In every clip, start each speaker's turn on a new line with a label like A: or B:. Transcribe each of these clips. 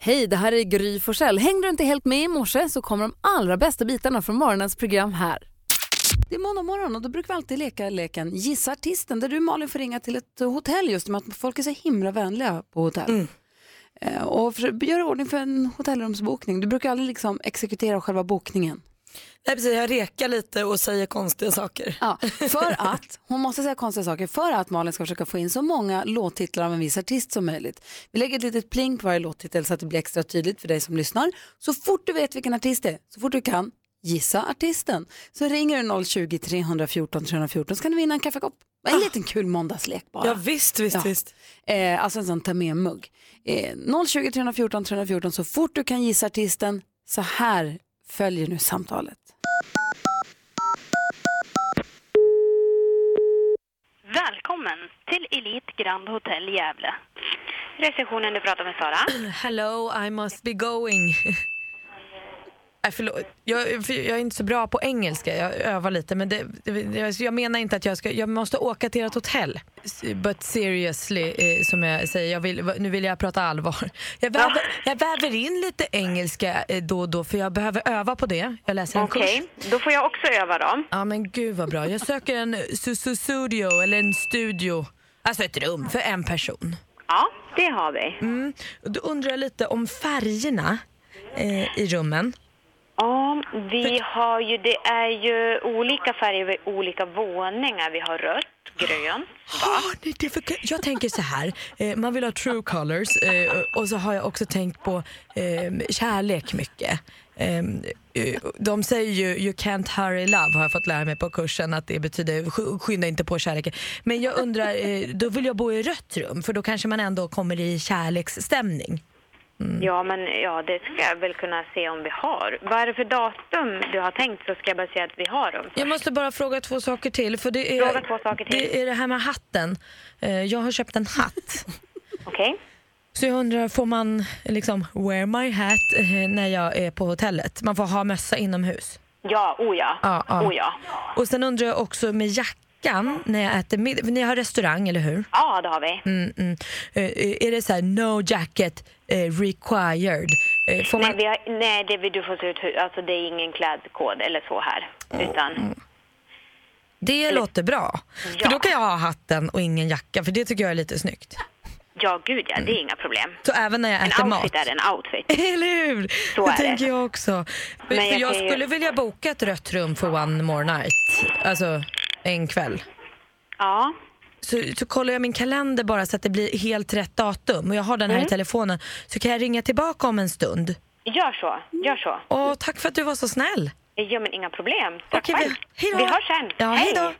A: Hej, det här är Gry Forssell. Hängde du inte helt med i morse så kommer de allra bästa bitarna från morgonens program här. Det är måndag morgon och då brukar vi alltid leka leken Gissa artisten där du Malin får ringa till ett hotell just med att folk är så himla vänliga på hotell. Eh, Och för, gör i ordning för en hotellrumsbokning. Du brukar aldrig liksom exekutera själva bokningen.
B: Nej, precis, jag rekar lite och säger konstiga saker.
A: Ja, för att, hon måste säga konstiga saker, för att Malin ska försöka få in så många låttitlar av en viss artist som möjligt. Vi lägger ett litet pling på varje låttitel så att det blir extra tydligt för dig som lyssnar. Så fort du vet vilken artist det är, så fort du kan, gissa artisten. Så ringer du 020 314 314 så kan du vinna en kaffekopp. En liten kul måndagslek bara.
B: Ja, visst, visst,
A: Ja.
B: visst.
A: Eh, alltså en sån ta med-mugg. Eh, 020 314 314 så fort du kan gissa artisten. Så här följer nu samtalet.
C: Välkommen till Elite Grand Hotel Gävle. Receptionen, du pratar med Sara.
B: Hello, I must be going. Nej, förlåt. Jag, för jag är inte så bra på engelska, jag övar lite. Men det, det, jag menar inte att jag ska, jag måste åka till ert hotell. S- But seriously, eh, som jag säger, jag vill, nu vill jag prata allvar. Jag väver, jag väver in lite engelska eh, då och då för jag behöver öva på det. Jag läser en kurs.
C: Okej, då får jag också öva då.
B: Ja men gud vad bra. Jag söker en su- su- studio eller en studio. Alltså ett rum för en person.
C: Ja, det har vi.
B: Mm. och Då undrar jag lite om färgerna eh, i rummen.
C: Ja, vi har ju, det är ju olika färger vid olika våningar. Vi har rött, grönt.
B: Har ni det för, jag tänker så här, eh, man vill ha true colors eh, och så har jag också tänkt på eh, kärlek mycket. Eh, eh, de säger ju you can't hurry love har jag fått lära mig på kursen att det betyder sk- skynda inte på kärleken. Men jag undrar, eh, då vill jag bo i rött rum för då kanske man ändå kommer i kärleksstämning.
C: Ja, men ja, det ska jag väl kunna se om vi har. Vad är det för datum du har tänkt så ska jag bara säga att vi har dem.
B: Jag måste bara fråga två saker till. För det är,
C: Fråga två saker till.
B: Det är det här med hatten. Eh, Jag har köpt en hatt.
C: Okej?
B: Så jag undrar, får man liksom wear my hat eh, när jag är på hotellet? Man får ha mössa inomhus.
C: Ja, o ja.
B: Ja, ja.
C: O ja.
B: Och sen undrar jag också med jackan när jag äter middag. För Ni har restaurang, eller hur?
C: Ja, det har vi.
B: Mm, mm. Eh, Är det så här no jacket eh, required? Eh, Får
C: Nej,
B: man...
C: vi har, nej det vill du få se ut hur- alltså det är ingen klädkod eller så här. Utan,
B: Det låter bra. För
C: Ja.
B: då kan jag ha hatten och ingen jacka, för det tycker jag är lite snyggt.
C: ja gud ja,
B: Mm.
C: det är inga problem.
B: Så även när jag äter
C: En
B: mat.
C: outfit är en outfit.
B: Eller hur?
C: Så
B: det
C: är det.
B: tänker jag också. För
C: Men
B: jag,
C: jag kan ju-
B: skulle vilja boka ett rött rum för one more night. Alltså en kväll.
C: Ja,
B: Så, så kollar jag min kalender bara så att det blir helt rätt datum och jag har den här
C: Mm.
B: i telefonen. Så kan jag ringa tillbaka om en stund.
C: gör så. Gör så.
B: Åh, tack för att du var så snäll.
C: Ja, men inga problem. Tack
B: Okej,
C: själv.
B: hej då.
C: Vi hörs sen.
B: Ja, hej då.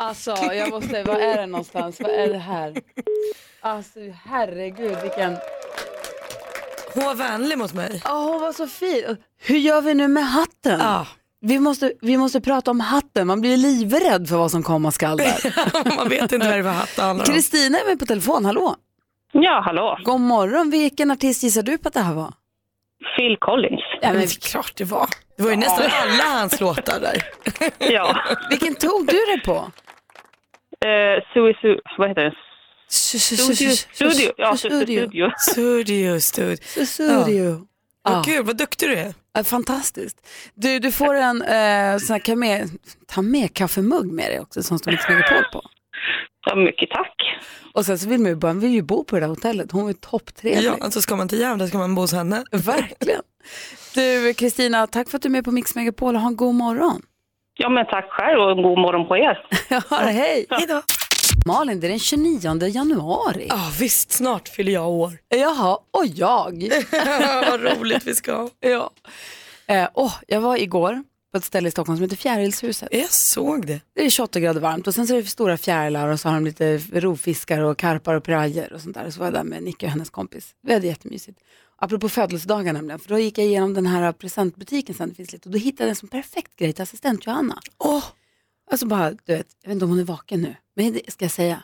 A: Alltså, jag måste, vad är det någonstans? Vad är det här? Alltså, herregud vilken...
B: Hon var vänlig mot mig.
A: Ja, hon var så fin. Hur gör vi nu med hatten?
B: Ja,
A: Vi, måste, vi måste prata om hatten, man blir livrädd för vad som komma skall där.
B: man vet inte vad det var hatten handlar om.
A: Kristina är med på telefon, hallå?
D: Ja, hallå.
A: God morgon, vilken artist gissar du på att det här var?
D: Phil Collins.
A: Ja, men,
B: klart det var. Det var ju nästan alla hans låtar där.
D: Ja.
A: vilken tog du det på?
D: Eh, Sui, Sui, vad heter den? Studio. Studio. Ja, Studio.
A: Studio.
D: studio.
B: Studio, studio.
A: Studio. Ja.
B: Gud, vad duktig du är.
A: Ja, Fantastiskt. Du, du får en eh, sån här, kan med, ta med kaffemugg med dig också som står Mix Megapol på.
D: Ja, mycket tack.
A: Och sen så vill man ju, bara- man vill ju bo på det där hotellet. Hon är topptrevlig.
E: alltså,
B: så ska man till Gävle ska man bo hos henne.
A: Verkligen. Du, Kristina, tack för att du är med på Mix Megapol och ha en god morgon.
D: Ja, men tack själv och god morgon på er.
A: Ja, hej.
B: Hejdå.
A: Malin, det är den 29 januari.
B: Ja visst, snart fyller jag år.
A: Jaha, och jag.
B: Vad roligt vi ska ha.
A: ja. eh, åh, jag var igår på ett ställe i Stockholm som heter Fjärilshuset.
B: Jag såg det.
A: Det är 28 grader varmt och sen så är det stora fjärilar och så har de lite rovfiskar och karpar och pirajer och sånt där. Så var jag där med Nicky och hennes kompis. Vi hade jättemysigt. Apropå födelsedagar nämligen, för då gick jag igenom den här presentbutiken sen det finns lite och då hittade jag en sån perfekt grej till assistent Johanna.
B: Åh,
A: Alltså bara, du vet, jag vet inte om hon är vaken nu, men det ska jag säga?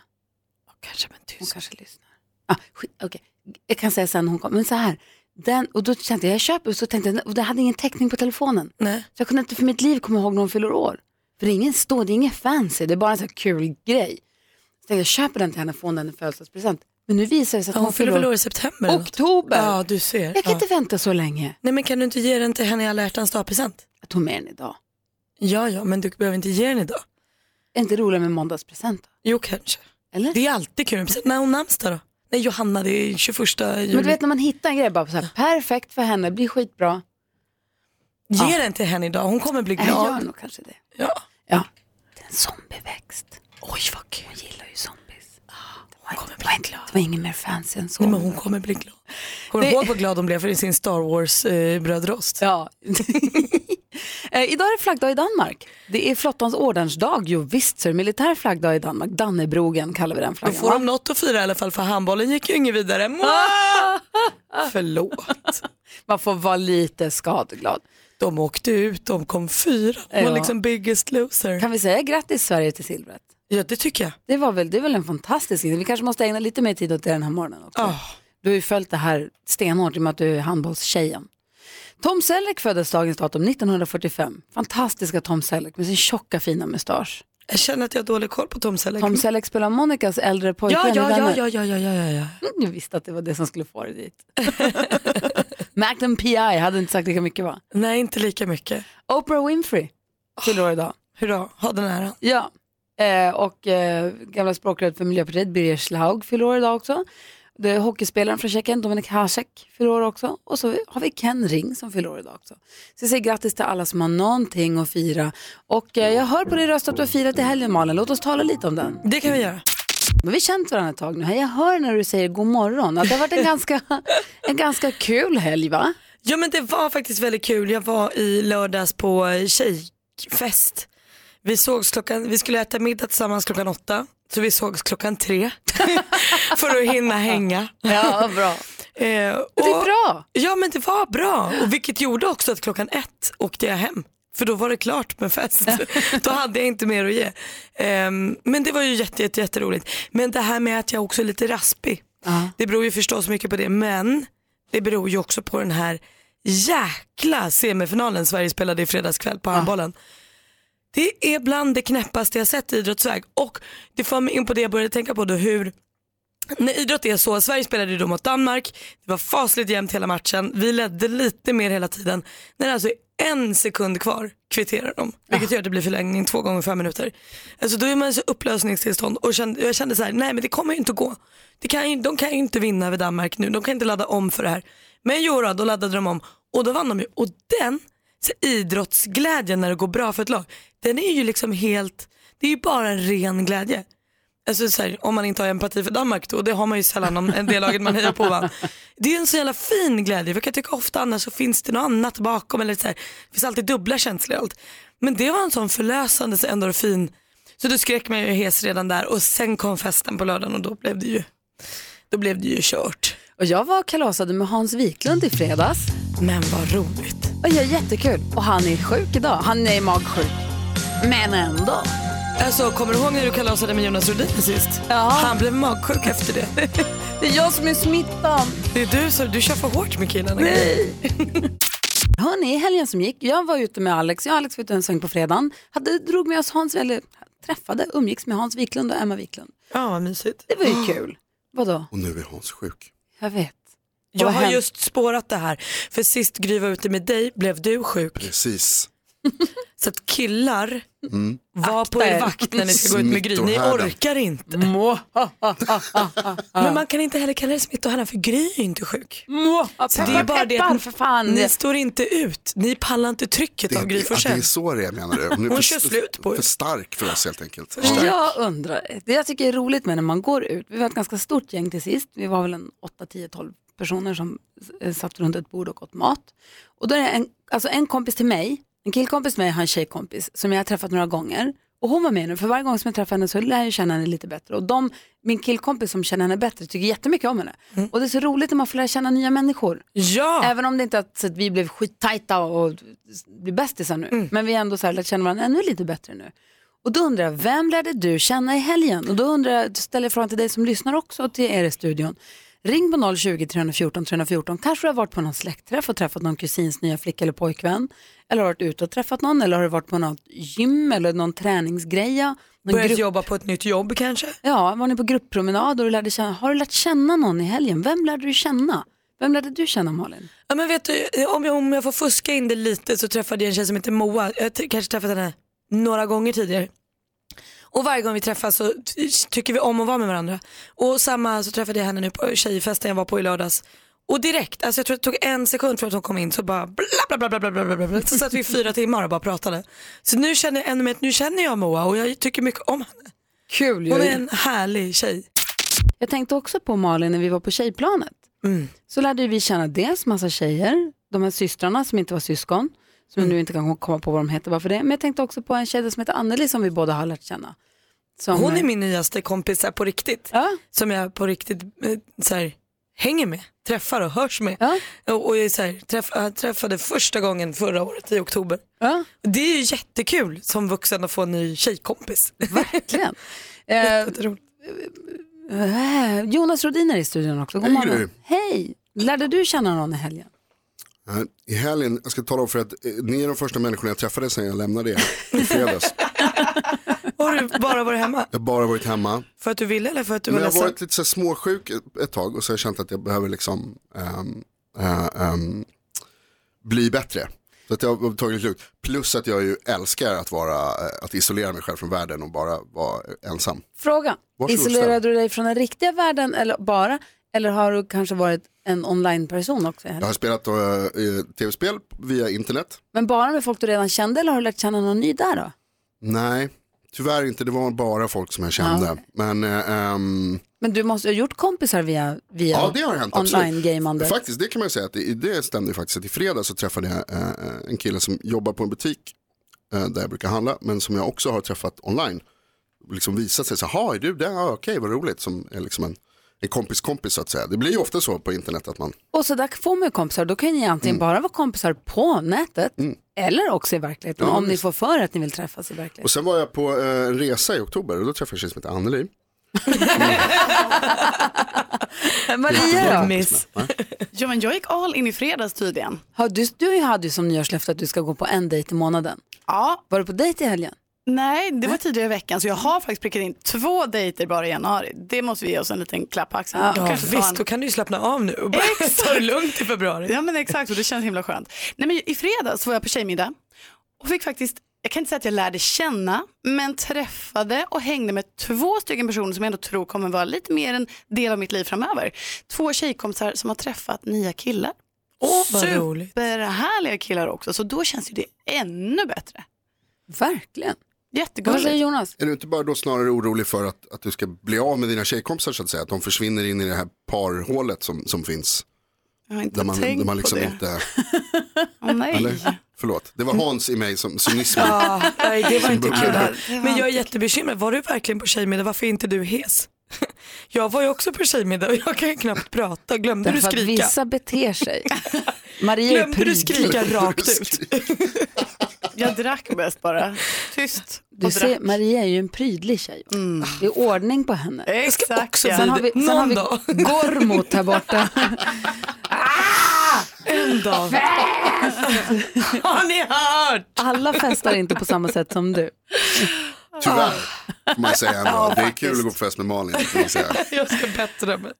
B: kanske men
A: Hon
B: tyst.
A: kanske lyssnar. Ah, skit, okej. Jag kan säga sen när hon kommer, men så här. Den, och då kände jag, jag köper, och så tänkte jag, och det hade ingen täckning på telefonen.
B: Nej.
A: Så jag kunde inte för mitt liv komma ihåg när hon fyller år. För det är ingen stå, det är ingen fancy, det är bara en sån här kul grej. Så tänkte jag, jag köper den till henne, får hon den i födelsedagspresent. Men nu visar det sig att
E: Ja, hon fyller väl år i september? eller något?
A: Oktober.
E: Ja, du ser.
A: Jag kan
E: ja.
A: inte vänta så länge.
E: Nej, men kan du inte ge den till henne i alla hjärtans dag-present?
A: Jag tog med den idag.
E: Ja, ja, men du behöver inte ge den idag.
A: Är inte roligare med måndagspresent? då?
E: Jo, kanske.
A: Eller?
E: Det är alltid kul med present. När har hon namnsdag då? Nej, Johanna, det är 21 juli.
A: Men du vet när man hittar en grej bara så här, perfekt för henne, blir skitbra.
E: Ge den till henne idag, hon kommer bli
A: Äh, Jag gör
E: glad.
A: nog kanske det.
E: Ja.
A: Ja. Det är en zombieväxt.
E: Oj, vad kul.
A: Jag gillar ju zombies.
E: Hon Ah, kommer bli glad.
A: Det var ingen mer fancy än så.
E: Nej, men hon kommer bli glad. Kommer du
A: Det-
E: ihåg vad glad hon blev för sin Star Wars eh, brödrost?
A: Ja. Eh, Idag är det flaggdag i Danmark. Det är flottans ordensdag, jo visst så är det militär flaggdag i Danmark. Dannebrogen kallar vi den
E: Då
A: flaggan.
E: får
A: va?
E: de något att fira i alla fall för handbollen gick ju inget vidare. Mwah! Förlåt.
A: Man får vara lite skadeglad.
E: De åkte ut, de kom fyra. De
A: Ja.
E: var liksom biggest loser.
A: Kan vi säga grattis Sverige till silvret?
E: Ja, det tycker jag.
A: Det var väl, det är väl en fantastisk idé. Vi kanske måste ägna lite mer tid åt det den här morgonen också.
E: Ah.
A: Du har ju följt det här stenhårt i och med att du är handbollstjejen. Tom Selleck föddes dagens datum 1945. Fantastiska Tom Selleck med sin tjocka fina mustasch.
E: Jag känner att jag har dålig koll på Tom Selleck.
A: Tom Selleck spelar Monicas äldre
E: ja,
A: pojkvän i
E: ja, ja,
A: Vänner.
E: ja, ja, ja, ja, ja.
A: Mm, Jag visste att det var det som skulle få dig dit. Magnum P.I. hade inte sagt lika mycket va?
E: Nej, inte lika mycket.
A: Oprah Winfrey fyller år idag.
E: Hurra, ha den här.
A: Ja, eh, och eh, gamla språkröret för Miljöpartiet Birger Schlaug fyller år idag också. Det är hockeyspelaren från Tjeckien, Dominik Hasek, fyller år också. Och så har vi Ken Ring som fyller år idag också. Så jag säger grattis till alla som har någonting att fira. Och eh, jag hör på din röst att du har firat i helgen Malin, låt oss tala lite om den.
E: Det kan vi göra.
A: Men vi har känt varandra ett tag nu, jag hör när du säger god morgon att det har varit en ganska, en ganska kul helg va?
E: Ja men det var faktiskt väldigt kul. Jag var i lördags på eh, tjejfest. Vi sågs klockan, vi skulle äta middag tillsammans klockan åtta. Så vi sågs klockan tre. för att hinna hänga.
A: Ja, bra.
E: Eh, och,
A: Det är bra.
E: Ja men det var bra. Och vilket gjorde också att klockan ett åkte jag hem. För då var det klart med fest. då hade jag inte mer att ge. Ehm, men det var ju jätte, jätte, jätteroligt. Men det här med att jag också är lite raspig.
A: Ja.
E: Det beror ju förstås mycket på det. Men det beror ju också på den här jäkla semifinalen Sverige spelade i fredags kväll på handbollen. Det är bland det knäppaste jag sett i idrottsväg. Och det för mig in på det jag började tänka på då hur när idrott är så, Sverige spelade ju då mot Danmark, det var fasligt jämnt hela matchen, vi ledde lite mer hela tiden. När det alltså är en sekund kvar kvitterar de, vilket gör att det blir förlängning två gånger fem minuter. Alltså då är man i så upplösningstillstånd och kände, jag kände så här, nej men det kommer ju inte att gå. Det kan ju, de kan ju inte vinna över Danmark nu, de kan inte ladda om för det här. Men jo då, då laddade de om och då vann de ju. Och den så idrottsglädjen när det går bra för ett lag, den är ju liksom helt, det är ju bara en ren glädje. Alltså så här, om man inte har empati för Danmark då, det har man ju sällan om en del laget man hejar på vann. Det är en så jävla fin glädje, för jag kan tycka ofta annars så finns det något annat bakom, eller så här, det finns alltid dubbla känslor och allt. Men det var en sån förlösande så endorfin, så då skrek man ju hes redan där och sen kom festen på lördagen och då blev det ju, då blev det ju kört.
A: Och jag var och kalasade med Hans Wiklund i fredags.
E: Men vad roligt.
A: Och det är jättekul. Och han är sjuk idag. Han är magsjuk. Men ändå.
E: Alltså kommer du ihåg när du kalasade med Jonas Rhodin sist?
A: Ja.
E: Han blev magsjuk efter det.
A: Det är jag som är smittan.
E: Det är du som, du kör för hårt med killarna.
A: Hörni, i helgen som gick, jag var ute med Alex. Jag och Alex var ute en sväng på fredagen. Hade, drog med oss Hans, eller träffade, umgicks med Hans Wiklund och Emma Wiklund.
E: Ja vad mysigt.
A: Det var ju kul. Vadå?
F: Och nu är Hans sjuk.
A: Jag vet. Och
E: Jag
A: vad
E: har
A: hänt?
E: just spårat det här. För sist Gry var ute med dig blev du sjuk.
F: Precis.
E: Så att killar,
F: Mm.
E: var på
A: er.
E: er vakt när ni ska gå ut med Gry. Ni
F: Smittohärden.
E: orkar inte.
A: Må, ha, ha, ha, ha, ha.
E: Men man kan inte heller kalla det smittohärdan för Gry är inte sjuk.
A: Må, ha,
E: Så det är bara det
A: peppar,
E: att
A: för fan.
E: ni står inte ut. Ni pallar inte
F: Det,
E: trycket av Gry
F: det, ja, det är
E: Forssell.
F: så det är menar du. Hon är
E: Hon
F: för,
E: kör slut på er.
F: för stark för oss helt enkelt.
A: Jag undrar, det jag tycker är roligt med när man går ut, vi var ett ganska stort gäng till sist, vi var väl en 8, 10, 12 personer som eh, satt runt ett bord och åt mat. Och då är det en, alltså en kompis till mig, en killkompis till mig har en tjejkompis som jag har träffat några gånger. Och hon var med nu, för varje gång som jag träffar henne så lär jag känna henne lite bättre. Och de, min killkompis som känner henne bättre tycker jättemycket om henne. Och det är så roligt när man får lära känna nya människor.
E: Ja,
A: Även om det inte är så att vi blev skittajta och blir bästisar nu.
E: Mm.
A: Men vi har ändå så här lärt känna varandra ännu lite bättre nu. Och då undrar jag, vem lärde du känna i helgen? Och då undrar jag, ställer jag frågan till dig som lyssnar också och till er i studion. Ring på 020-314 314. Kanske du har varit på någon släktträff och träffat någon kusins nya flicka eller pojkvän. Eller har varit ute och träffat någon. Eller har du varit på något gym eller någon träningsgreja.
E: Börjat
A: grupp-
E: jobba på ett nytt jobb kanske.
A: Ja, var ni på gruppromenad och du lärde känna, har du lärt känna någon i helgen? Vem lärde du känna? Vem lärde du känna Malin?
E: Ja, men vet du, om jag, om jag får fuska in det lite så träffade jag en tjej som heter Moa. Jag har t- kanske träffat henne några gånger tidigare. Och varje gång vi träffas så ty- tycker vi om att vara med varandra. Och samma så träffade jag henne nu på tjejfesten jag var på i lördags. Och direkt, alltså jag tror det tog en sekund från att hon kom in så bara bla bla bla bla bla bla bla. bla. Så satt vi i fyra timmar och bara pratade. Så nu känner jag ännu mer, att nu känner jag Moa och jag tycker mycket om henne.
A: Kul
E: Hon är en härlig tjej.
A: Jag tänkte också på Malin när vi var på tjejplanet.
E: Mm.
A: Så lärde ju vi känna dels massa tjejer, de här systrarna som inte var syskon, som
E: Mm.
A: jag nu inte kan komma på vad de heter, varför det. Men jag tänkte också på en tjej som heter Anneli som vi båda har lärt känna. Som,
E: Hon är min nyaste kompis så här, på riktigt.
A: Ja.
E: Som jag på riktigt eh, så här, hänger med, träffar och hörs med.
A: Ja.
E: Och, och jag, är så här, träff, jag träffade första gången förra året i oktober.
A: Ja,
E: Det är ju jättekul som vuxen att få en ny tjejkompis.
A: verkligen. eh,
E: Jätteroligt.
A: eh, Jonas Rhodin är i studion också. God
F: Hej,
A: morgon.
F: Gry.
A: Hej! Lärde du känna någon i helgen?
F: Nej, Eh, I helgen, jag ska tala om för att eh, ni är de första människorna jag träffade sen jag lämnade er i fredags.
E: Har du bara varit hemma
F: Jag har bara varit hemma.
E: för att du ville eller för att du
F: Men
E: var
F: jag har
E: ledsen?
F: varit lite så här småsjuk ett, ett tag och så har jag känt att jag behöver liksom ehm, eh, ehm, bli bättre. Så att jag har tagit det lugnt. Plus att jag ju älskar att, vara, eh, att isolera mig själv från världen och bara vara eh, ensam.
A: Fråga.
F: Varsågod,
A: Isolerade
F: ställ.
A: du dig från den riktiga världen eller bara? Eller har du kanske varit en online-person också? i helgen?
F: Jag har spelat eh, eh, tv-spel via internet.
A: Men bara med folk du redan kände eller har du lärt känna någon ny där då?
F: Nej, tyvärr inte. Det var bara folk som jag kände. Men eh, ehm,
A: Men du måste ha gjort kompisar via, via
F: ja, det har hänt. absolut.
A: online-gamandet.
F: Faktiskt, det kan man ju säga att det, i det stämde ju faktiskt. Att I fredag så träffade jag eh, en kille som jobbar på en butik eh, där jag brukar handla, men som jag också har träffat online. Liksom visat sig, så här, "Ha, är du där? Ja, okej, vad roligt. Som är liksom en, en kompis kompis så att säga. Det blir ju ofta så på internet att man,
A: Och så där får man ju kompisar. Då kan ni antingen bara vara kompisar på nätet eller också i verkligheten. om ni får för att ni vill träffas i verkligheten.
F: och sen var jag på eh, en resa i oktober och då träffade jag en tjej som heter Anneli.
A: Maria då?
E: Miss.
G: Ja, men jag gick all in i fredags tydligen.
A: Har du, du hade ju som nyårslöfte att du ska gå på en dejt i månaden.
G: Ja,
A: Var du på dejt i helgen?
G: nej, det var tidigare i veckan så jag har faktiskt prickat in två dejter bara i januari. Det måste vi ge oss en liten klapp på axeln. Jag
E: Ja,
G: kanske tar
E: visst,
G: en-
E: då kan du ju slappna av nu och bara
G: Exakt.
E: ta det lugnt i februari.
G: Ja men exakt, och det känns himla skönt. Nej, men I fredags var jag på tjejmiddag och fick faktiskt, jag kan inte säga att jag lärde känna, men träffade och hängde med två stycken personer som jag ändå tror kommer vara lite mer en del av mitt liv framöver. Två tjejkompisar som har träffat nya killar.
E: Åh, vad roligt.
G: Superhärliga killar också, så då känns ju det ännu bättre.
A: Verkligen. Vad säger
G: Jättegulligt.
A: Jonas?
F: Är du inte bara då snarare orolig för att, att du ska bli av med dina tjejkompisar så att säga? Att de försvinner in i det här parhålet som, som finns.
G: Jag har inte
F: Där man,
G: tänkt
F: där man liksom
G: på det.
F: inte,
G: Åh, nej.
F: eller? Förlåt, det var Hans i mig som cynismen.
E: Ja, Ah, nej, det var inte kul.
G: Ja,
E: här.
G: det var
E: Men jag
G: inte
E: är jättebekymrad. Var du verkligen på tjejmiddag? Varför är inte du hes? Jag var ju också på tjejmiddag och jag kan ju knappt prata. Glömde du
A: Därför att
E: skrika?
A: vissa beter sig. Maria är
E: Glömde du
A: prydlig.
E: skrika rakt ut?
G: Jag drack mest bara. Tyst
A: Du
G: och
A: ser,
G: drack. Mm.
A: Maria är ju en prydlig tjej. Det är ordning på henne.
G: Exakt
A: Sen
G: ja.
A: har vi, sen har
E: Någon
A: vi
E: dag.
A: Gormot här borta.
E: En dag. Har ni hört?
A: Alla festar inte på samma sätt som du.
F: Tyvärr, får man säga ändå. det är kul att gå på fest med Malin. Kan man säga.
E: Jag ska bättre mig.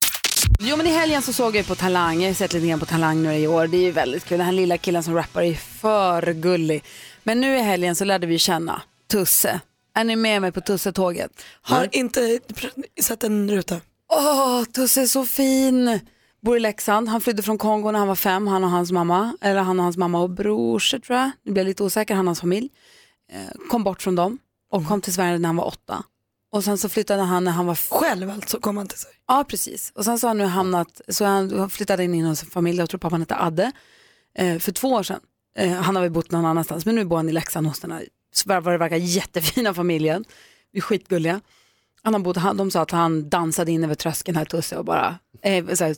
A: Jo men i helgen så såg jag ju på Talang, jag har ju sett lite grann på Talang nu i år. Det är ju väldigt kul, den här lilla killen som rappar är ju för gullig. Men nu i helgen så lärde vi känna Tusse. Är ni med mig på Tusse-tåget?
E: Har inte pr- satt en ruta.
A: Åh, Tusse är så fin! Bor i Leksand. Han flydde från Kongo när han var fem, han och hans mamma. Eller han och hans mamma och brorsor tror jag. Nu blir jag lite osäker, han och hans familj. Eh, kom bort från dem och kom till Sverige när han var åtta. Och sen så flyttade han när han var
E: Själv alltså kom han till sig.
A: Ja, precis. Och sen så har han nu hamnat, så han flyttade in i hos en familj, jag tror pappan hette Adde, eh, för två år sedan. Eh, han har väl bott någon annanstans, men nu bor han i Leksand hos den här, så vad det verkar, jättefina familjen. Vi är skitgulliga. Han har bott, han, de sa att han dansade in över tröskeln här, Tusse, och bara, eh, så här,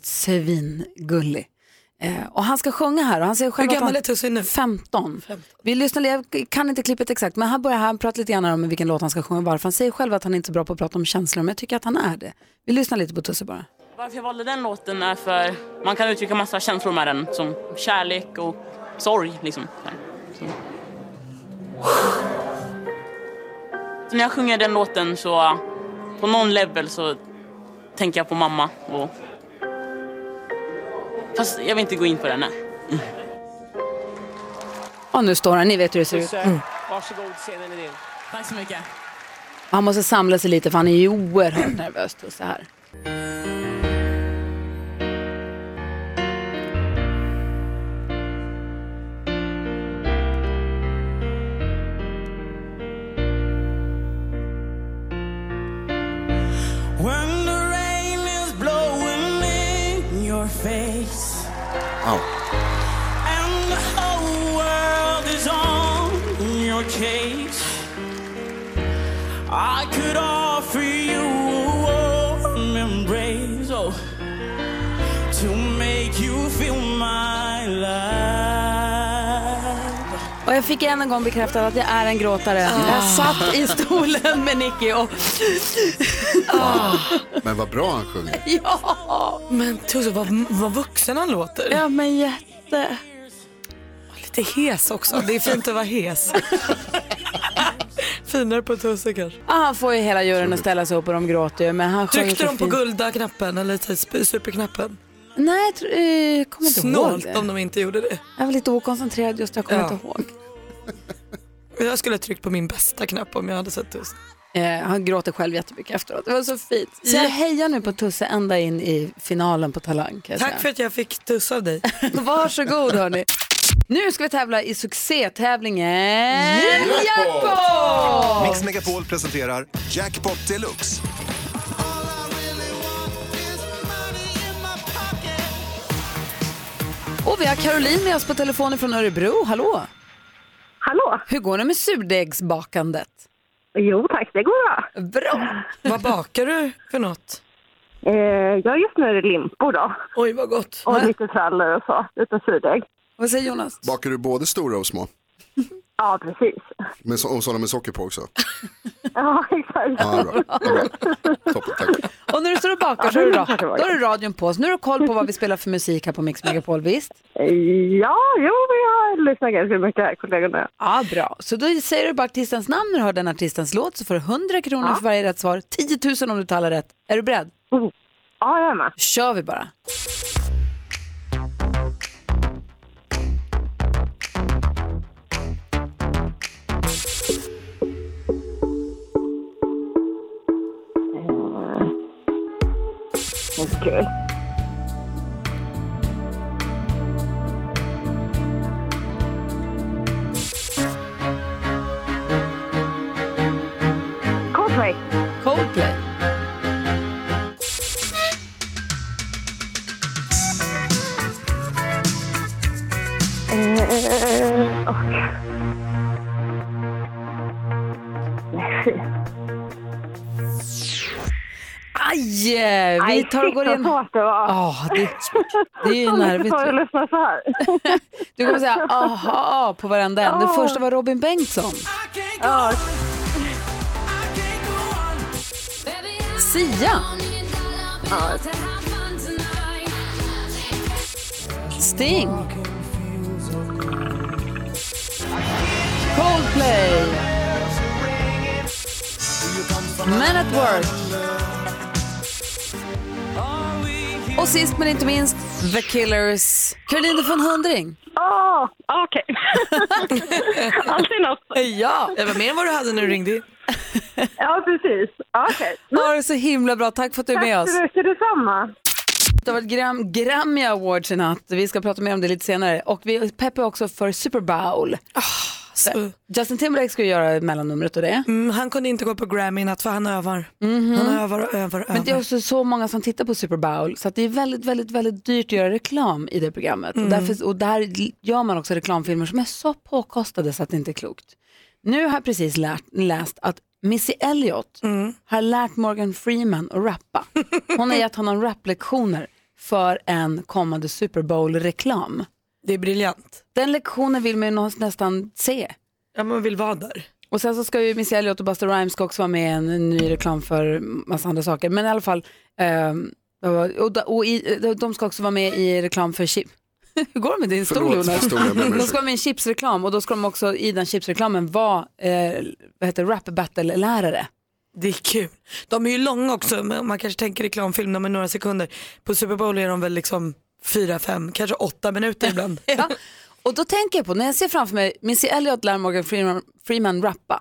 A: svingullig. Eh, och han ska sjunga här och han säger
E: Hur
A: själv att han-
E: gammal är Tusse nu?
A: 15. Vi lyssnade, jag kan inte klippet exakt, men här börjar han prata lite grann om vilken låt han ska sjunga och varför. Han säger själv att han inte är så bra på att prata om känslor, men jag tycker att han är det. Vi lyssnar lite på Tusse bara.
H: Varför jag valde den låten är för man kan uttrycka massa känslor med den. Som kärlek och sorg liksom. Så. Så när jag sjunger den låten så på någon level så tänker jag på mamma. Och... Fast jag vill inte gå in på den här.
A: Och nu står han, ni vet hur det ser ut. Mm.
I: Varsågod, scenen är din.
H: Tack så mycket.
A: Han måste samla sig lite för han är ju oerhört nervös. Och så här.
J: When the rain is blowing in your face
F: Wow.
J: and the whole world is on your case, I could offer you a warm embrace oh, to make you feel my love.
A: Och jag fick än en gång bekräftat att jag är en gråtare.
E: Ah.
A: Jag satt i stolen med Nicky och
F: Men vad bra han sjunger.
A: ja,
E: Men Tusse, vad, vad vuxen han låter.
A: ja men jätte.
E: Lite hes också. Det är fint att vara hes. Finare på Tusse kanske.
A: Ah, han får ju hela juryn att ställa sig upp och de gråter ju. Men han sjunger
E: Tryckte
A: så
E: de på
A: fint.
E: gulda-knappen eller typ superknappen?
A: Nej, jag tror- eh, jag kommer inte ihåg
E: Snålt
A: det.
E: om de inte gjorde det.
A: Jag var lite okoncentrerad just, jag kommer
E: Ja.
A: inte ihåg.
E: Jag skulle ha tryckt på min bästa knapp om jag hade sett Tusse.
A: Eh, han gråter själv jättemycket efteråt. Det var så fint. Så jag hejar nu på Tusse ända in i finalen på Talang. Kan jag
E: Tack för
A: säga.
E: att jag fick Tusse av dig.
A: Varsågod hörni. Nu ska vi tävla i succétävlingen Jackpot!
K: Mix Megapol presenterar Jackpot Deluxe.
A: Och vi har Caroline med oss på telefonen från Örebro. Hallå!
L: Hallå?
A: Hur går det med surdegsbakandet?
L: Jo tack, det går bra.
A: Bra!
E: Vad bakar du för något?
L: Eh, jag just nu är det limpor då.
E: Oj, vad gott.
L: Och lite trallor och så, utan surdeg.
A: Vad säger Jonas?
F: Bakar du både stora och små?
L: Ja, precis.
F: Med, so- och sådana med socker på också?
L: Ja, exakt.
F: Ja, bra. Ja, bra. Toppen, tack.
A: Och när du står och bakar så är du ra- då har du radion på oss. Nu har du koll på vad vi spelar för musik här på Mix Megapol, visst?
L: Ja, jo, men jag lyssnar ganska mycket här, kollegorna.
A: Ja, bra. Så då säger du bara artistens namn när du hör den artistens låt så får du 100 kronor för varje rätt svar. 10 000 om du talar rätt. Är du beredd?
L: Ja, jag är med.
A: kör vi bara.
L: Okej. Coldplay.
A: Coldplay.
L: Eh, och... Nej, fy.
A: Aj! eh, Vi
L: Nej,
A: tar och går
L: shit,
A: in.
L: vad svårt det var.
A: Ja, det, det är ju nervigt.
L: Jag
A: ju.
L: lyssna så här.
A: Du kommer säga aha på varenda en. Den
L: Ja.
A: första var Robin Bengtsson.
L: Ja,
A: Sia. Sting. Coldplay. Men at Work. Och sist men inte minst, The Killers. Caroline, du får en hundring.
L: Åh, okej. Alltid något.
A: Ja.
E: Det var mer än vad du hade när du ringde in.
L: Ja, precis. Okej.
A: Ha det så himla bra. Tack för att du är med oss.
L: Tack så mycket, detsamma.
A: Det har varit Gram Grammy Awards i natt. Vi ska prata mer om det lite senare. Och vi peppar också för Super Bowl.
E: Så,
A: Justin Timberlake ska ju göra mellannumret och det.
E: mm, han kunde inte gå på Grammy i natt för han övar.
A: Mhm.
E: Han övar och övar och övar.
A: Men det är också så många som tittar på Super Bowl så att det är väldigt, väldigt, väldigt dyrt att göra reklam i det programmet. Och, därför, och där gör man också reklamfilmer som är så påkostade så att det inte är klokt. Nu har jag precis lärt, läst att Missy Elliott har lärt Morgan Freeman att rappa. Hon har gett honom rapplektioner för en kommande Super Bowl-reklam.
E: Det är briljant.
A: Den lektionen vill man ju någonstans nästan se.
E: Ja, man vill vara där.
A: Och sen så ska ju Missy Elliott och Buster Rhymes ska också vara med i en ny reklam för massa andra saker. Men i alla fall, ehm, vad var- och, da- och i, de ska också vara med i reklam för chip. Hur går det med din stol
F: Förlåt,
A: Jonas?
F: stol, jag ber om
A: De
F: ursäkt.
A: ska vara med i en chipsreklam och då ska de också i den chipsreklamen vara eh, vad heter, det, rap battle-lärare.
E: Det är kul. De är ju långa också, men man kanske tänker reklamfilm, de är några sekunder. På Super Bowl är de väl liksom fyra, fem, kanske åtta minuter ibland.
A: Ja. Och då tänker jag på, när jag ser framför mig Missy Elliott lär Morgan Freeman, Freeman rappa.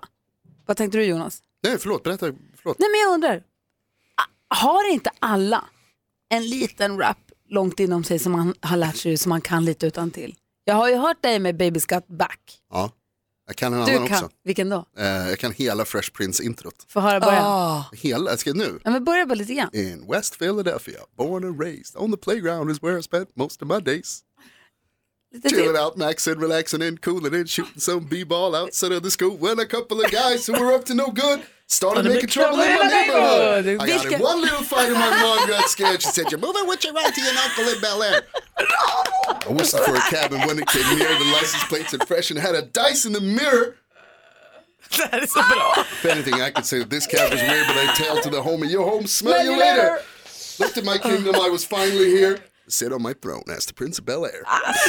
A: Vad tänkte du Jonas?
F: Nej, förlåt, berätta. Förlåt.
A: Nej men jag undrar, a- har inte alla en liten rap långt inom sig som man har lärt sig som man kan lite utan till? Jag har ju hört dig med Baby's Got Back.
F: Ja, jag kan en
A: Du
F: annan
A: kan,
F: också.
A: vilken då?
F: Eh, jag kan hela Fresh Prince-introt.
A: Få höra början.
F: Hela, jag ska nu.
A: Ja, men börja bara lite grann.
F: In West Philadelphia, born and raised, on the playground is where I spent most of my days. Chilling out, maxing, relaxing and cooling and shooting some b-ball outside of the school when a couple of guys who were up to no good started
J: Started
F: making trouble in my neighborhood. I got in
J: Vilka-
F: one little fight and my mom got scared. She said, you're moving with your auntie and uncle in Bel Air. I whistled for a cab and when it came near, the license plates and fresh and had a dice in the mirror.
E: That is so bra.
F: If anything, I could say that this cab was weird, but I tailed to the homie, yo home, smell
J: Smell
F: you
J: you
F: later.
J: later.
F: Looked at my kingdom, I was finally here. Sit on my throne as the prince of Bel Air.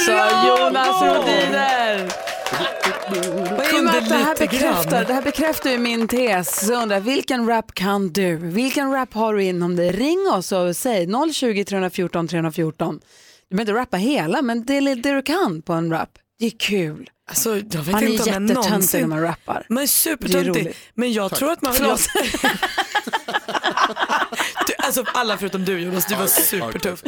A: Så Jonas Rhodiner! Och i och med att det
J: Kunde lite grann.
A: här, bekräftar, det här bekräftar ju min tes. Så jag undrar, vilken rap kan du? Vilken rap har du inom dig? Ring oss och säg 020 314 314. Du behöver inte rappa hela, men det är det du kan på en rap. Det är kul.
E: Alltså, jag vet
A: man
E: inte om
A: är
E: jag
A: jättetöntig
E: någonsin-
A: när man rappar.
E: Man är
A: Det är
E: supertöntig.
A: roligt.
E: Men jag
A: Tack.
E: tror att man...
A: Förlåt.
E: du, alltså alla förutom du Jonas, du var supertuff.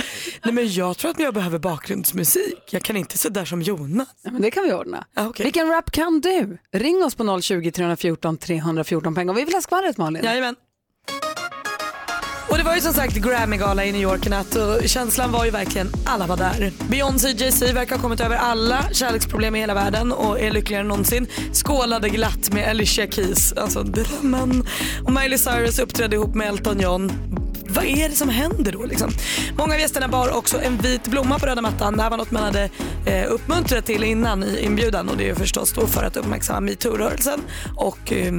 E: Nej men jag tror att jag behöver bakgrundsmusik. Jag kan inte sådär som Jonas.
A: Ja, men det kan vi ordna. Vilken rap kan du? Ring oss på 020 314 314 på en gång. Vi vill ha skvallret Malin.
E: Jajamän. Och det var ju som sagt Grammy-gala i New York i natt och känslan var ju verkligen alla var där. Beyoncé och Jay-Z verkar ha kommit över alla kärleksproblem i hela världen och är lyckligare än någonsin. Skålade glatt med Alicia Keys, alltså drömmen. Och Miley Cyrus uppträdde ihop med Elton John. Vad är det som händer då liksom? Många av gästerna bar också en vit blomma på röda mattan. Det här var något man hade eh, uppmuntrat till innan i inbjudan och det är ju förstås då för att uppmärksamma metoo-rörelsen och eh,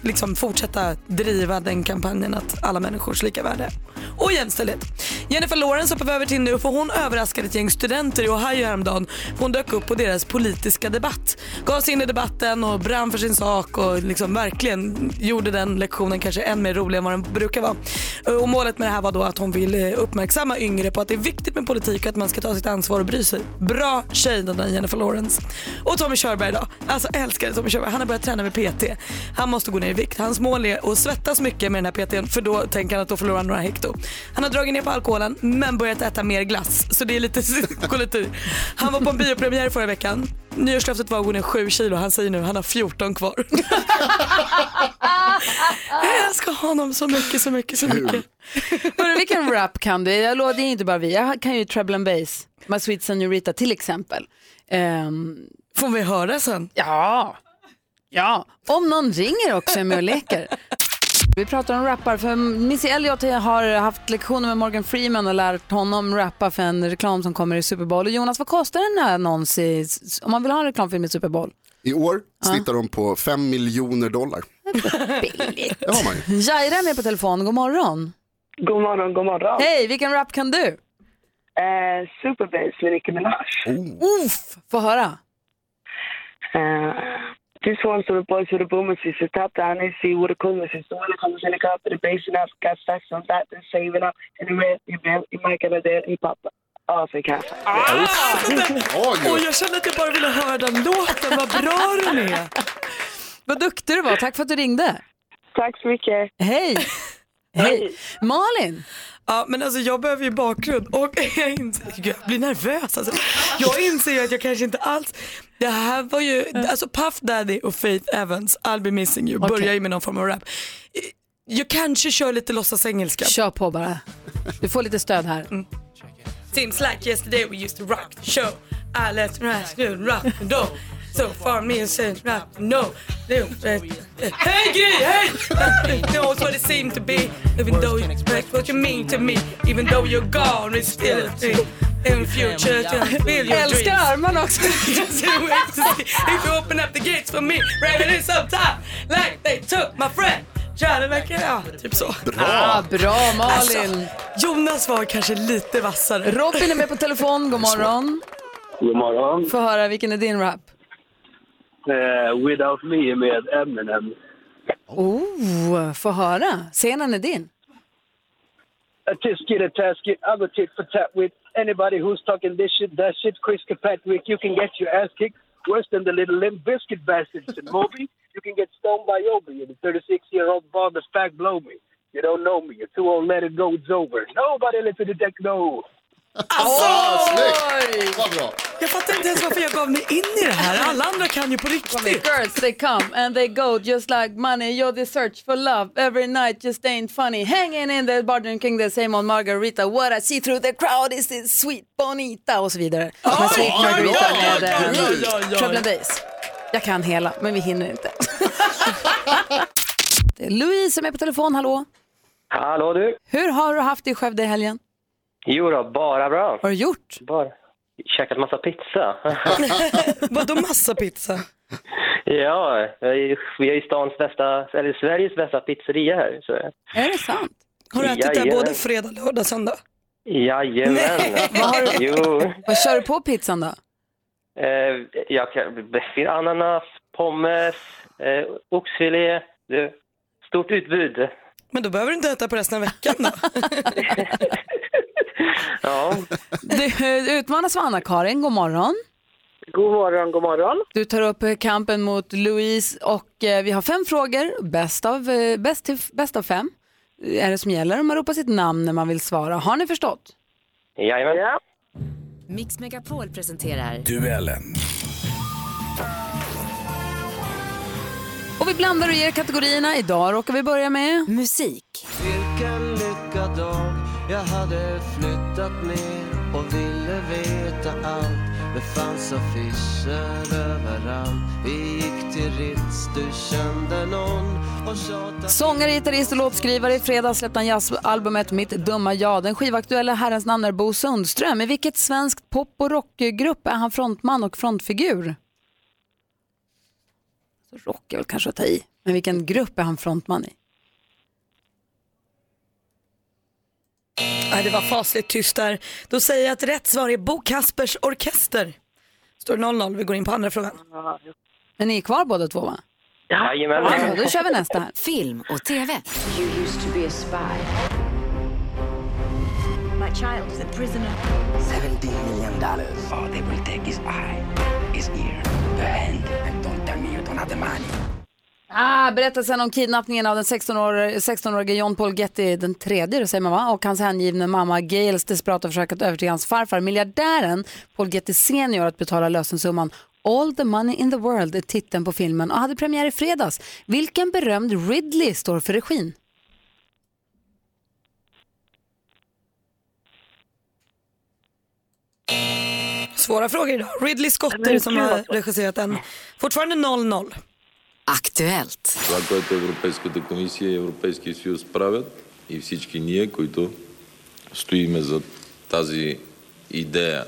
E: liksom fortsätta driva den kampanjen att alla människors lika värde och jämställdhet. Jennifer Lawrence hoppar vi över till nu för hon överraskade ett gäng studenter i Ohio häromdagen. Hon dök upp på deras politiska debatt. Gav sig in i debatten och brann för sin sak och liksom verkligen gjorde den lektionen kanske än mer rolig än vad den brukar vara. Eh, Och målet med det här var då att hon vill eh, uppmärksamma yngre på att det är viktigt med politik och att man ska ta sitt ansvar och bry sig. Bra tjej den där Jennifer Lawrence. Och Tommy Körberg då. Alltså älskade Tommy Körberg. Han har börjat träna med PT. Han måste gå ner i vikt. Hans mål är att svettas mycket med den här PTn för då tänker han att då förlorar han några hekto. Han har dragit ner på alkoholen men börjat äta mer glass. Så det är lite, går lite i. Han var på en biopremiär förra veckan. Nyårslöftet var att gå ner 7 kilo. Han säger nu att han har 14 kvar. Jag älskar honom så mycket, så mycket, så mycket.
A: Hörru, vilken rap kan du? Jag lovar, det är inte bara vi. Jag kan ju Treble and Bass, My Sweet Senorita till exempel. Ehm,
E: Får vi höra sen?
A: Ja. ja, om någon ringer också är med och leker. Vi pratar om rappar, för Missy Elliott har haft lektioner med Morgan Freeman och lärt honom rappa för en reklam som kommer i Super Bowl. Och Jonas, vad kostar en annons i, om man vill ha en reklamfilm i Super Bowl?
F: I år snittar de på 5 miljoner dollar.
A: Billigt.
F: Det har man ju.
A: Jaira är med på telefon, god morgon.
I: God morgon, god morgon.
A: Hej, vilken rap kan du?
I: Eh, Superbass med Nicki Minaj.
A: Uff, få höra.
I: Eh, this one's for the boys with the boomers. It's the top down and see what the coolness is. So when it comes in the cup, the bass enough. Got sex on that, then saving up. And the red, you bet, you might get a dead, you pop up. Ja, så kan
E: Åh, jag kände att jag bara ville höra den låten. Vad bra den är.
A: Vad duktig du var, tack för att du ringde.
I: Tack så mycket.
A: Hej. Hej. Malin?
E: Ja, men alltså jag behöver ju bakgrund och jag, inser, Gud, jag blir nervös alltså. Jag inser ju att jag kanske inte alls, det här var ju, alltså Puff Daddy och Faith Evans, I'll be missing you, börjar ju med någon form av rap. Jag kanske kör lite låtsas engelska.
A: Kör på bara. Du får lite stöd här.
M: Mm,
E: Seems like yesterday we used to rock the show. I left my school rock the door. So far me and said rock no. Hey Gry, hey! It knows what it seemed to be. Even though you expect what you mean to me. Even though you're gone it's still a thing. In future to feel your dreams.
A: Älskar armarna också.
E: Just can't wait to see if you open up the gates for me. Raven is up top like they took my friend. Try to make it out. Typ så.
A: Bra. Ah, bra, Malin.
M: Alltså.
E: Jonas var kanske lite vassare.
A: Robin är med på telefon, god morgon.
M: God morgon.
A: Få höra, vilken är din rap?
M: Eh, Without Me med Eminem.
A: Oh, få höra. Scenen är din.
N: I uh, just get a task. I will tit for tat with anybody who's talking this shit, that shit. Chris Kirkpatrick, you can get your ass kicked worse than the little limp biscuit bastards in Moby. You can get stoned by Obi, and the 36-year-old ball that's back blow me. You don't know me. You're too old. Let it go. It's over. Nobody listen to techno.
F: Vad bra.
E: Jag fattar inte ens varför jag gav mig in i det här. Alla andra kan ju på riktigt.
A: Girls, they come and they go just like money. You're the search for love every night just ain't funny. Hanging in the bar drinking the same old margarita. What I see through the crowd is this sweet bonita och så vidare. Men sweet
J: oj,
A: margarita
J: oj, oj,
A: med eh,
J: oj, oj, oj.
A: Trouble and Days. Jag kan hela, men vi hinner inte. Det är Louise som är på telefon, hallå.
O: Hallå du!
A: Hur har du haft det i Skövde i helgen?
O: Jo då, bara bra. Vad
A: har du gjort?
O: Bara. Käkat massa pizza.
E: Vadå massa pizza?
O: ja, jag är ju- vi är ju stans bästa, eller Sveriges bästa pizzeria här. Så.
A: Är det sant?
E: Har du ätit där
O: Jajamän.
E: både fredag, lördag, söndag?
O: Jajamän!
A: Vad har du-
O: jo.
A: Vad kör du på pizzan då?
O: Eh, jag kan, det finns ananas, pommes, eh, oxfilé. Det, stort utbud.
E: Men då behöver du inte äta på resten av veckan då.
O: Ja.
A: Du utmanas av Anna-Karin, god morgon.
L: God morgon, god morgon.
A: Du tar upp eh, kampen mot Louise och eh, vi har fem frågor, bäst av, eh, bäst till, bäst av fem eh, är det som gäller. Man ropar sitt namn när man vill svara. Har ni förstått?
O: Jajamän.
P: Mix Megapol presenterar...
Q: Duellen.
A: Och vi blandar och ger kategorierna. Idag råkar vi börja med musik.
J: Vilken lyckad dag jag hade flyttat ner och ville veta allt. Det fanns affischer överallt. Vi gick till Ritz, du kände någon och tjatade...
A: Sångare, gitarrist och låtskrivare. I fredags släppte han jazzalbumet Mitt dumma jag. Den skivaktuella herrens namn är Bo Sundström. I vilket svenskt pop och rockgrupp är han frontman och frontfigur? Så Rock är väl kanske att ta i, men vilken grupp är han frontman i?
E: Nej, det var fasligt tyst där. Då säger jag att rätt svar är Bo Kaspers Orkester. Står 0-0, vi går in på andra frågan.
A: Men ni är kvar båda två va?
O: Jajamän.
A: Ja, då kör vi nästa här.
P: Film och TV.
R: You used to be a spy. My child is a prisoner.
S: 17 million dollars. All they will take is eye, his ear, the hand. And don't tell me you don't have the money.
A: Ah, berättelsen om kidnappningen av den 16-årige 16 John Paul Getty den tredje, det säger man va? Och hans hängivne mamma Gales desperata försök att övertyga hans farfar, miljardären Paul Getty senior att betala lösensumman. All the money in the world är titeln på filmen och hade premiär i fredags. Vilken berömd Ridley står för regin?
E: Svåra frågor idag. Ridley Scott
A: Men
E: är det som
A: klart.
E: har regisserat den. Fortfarande 0-0.
P: Aktuellt.
T: Това, което Европейската комисия и Европейския съюз правят и всички ние, които стоиме за тази идея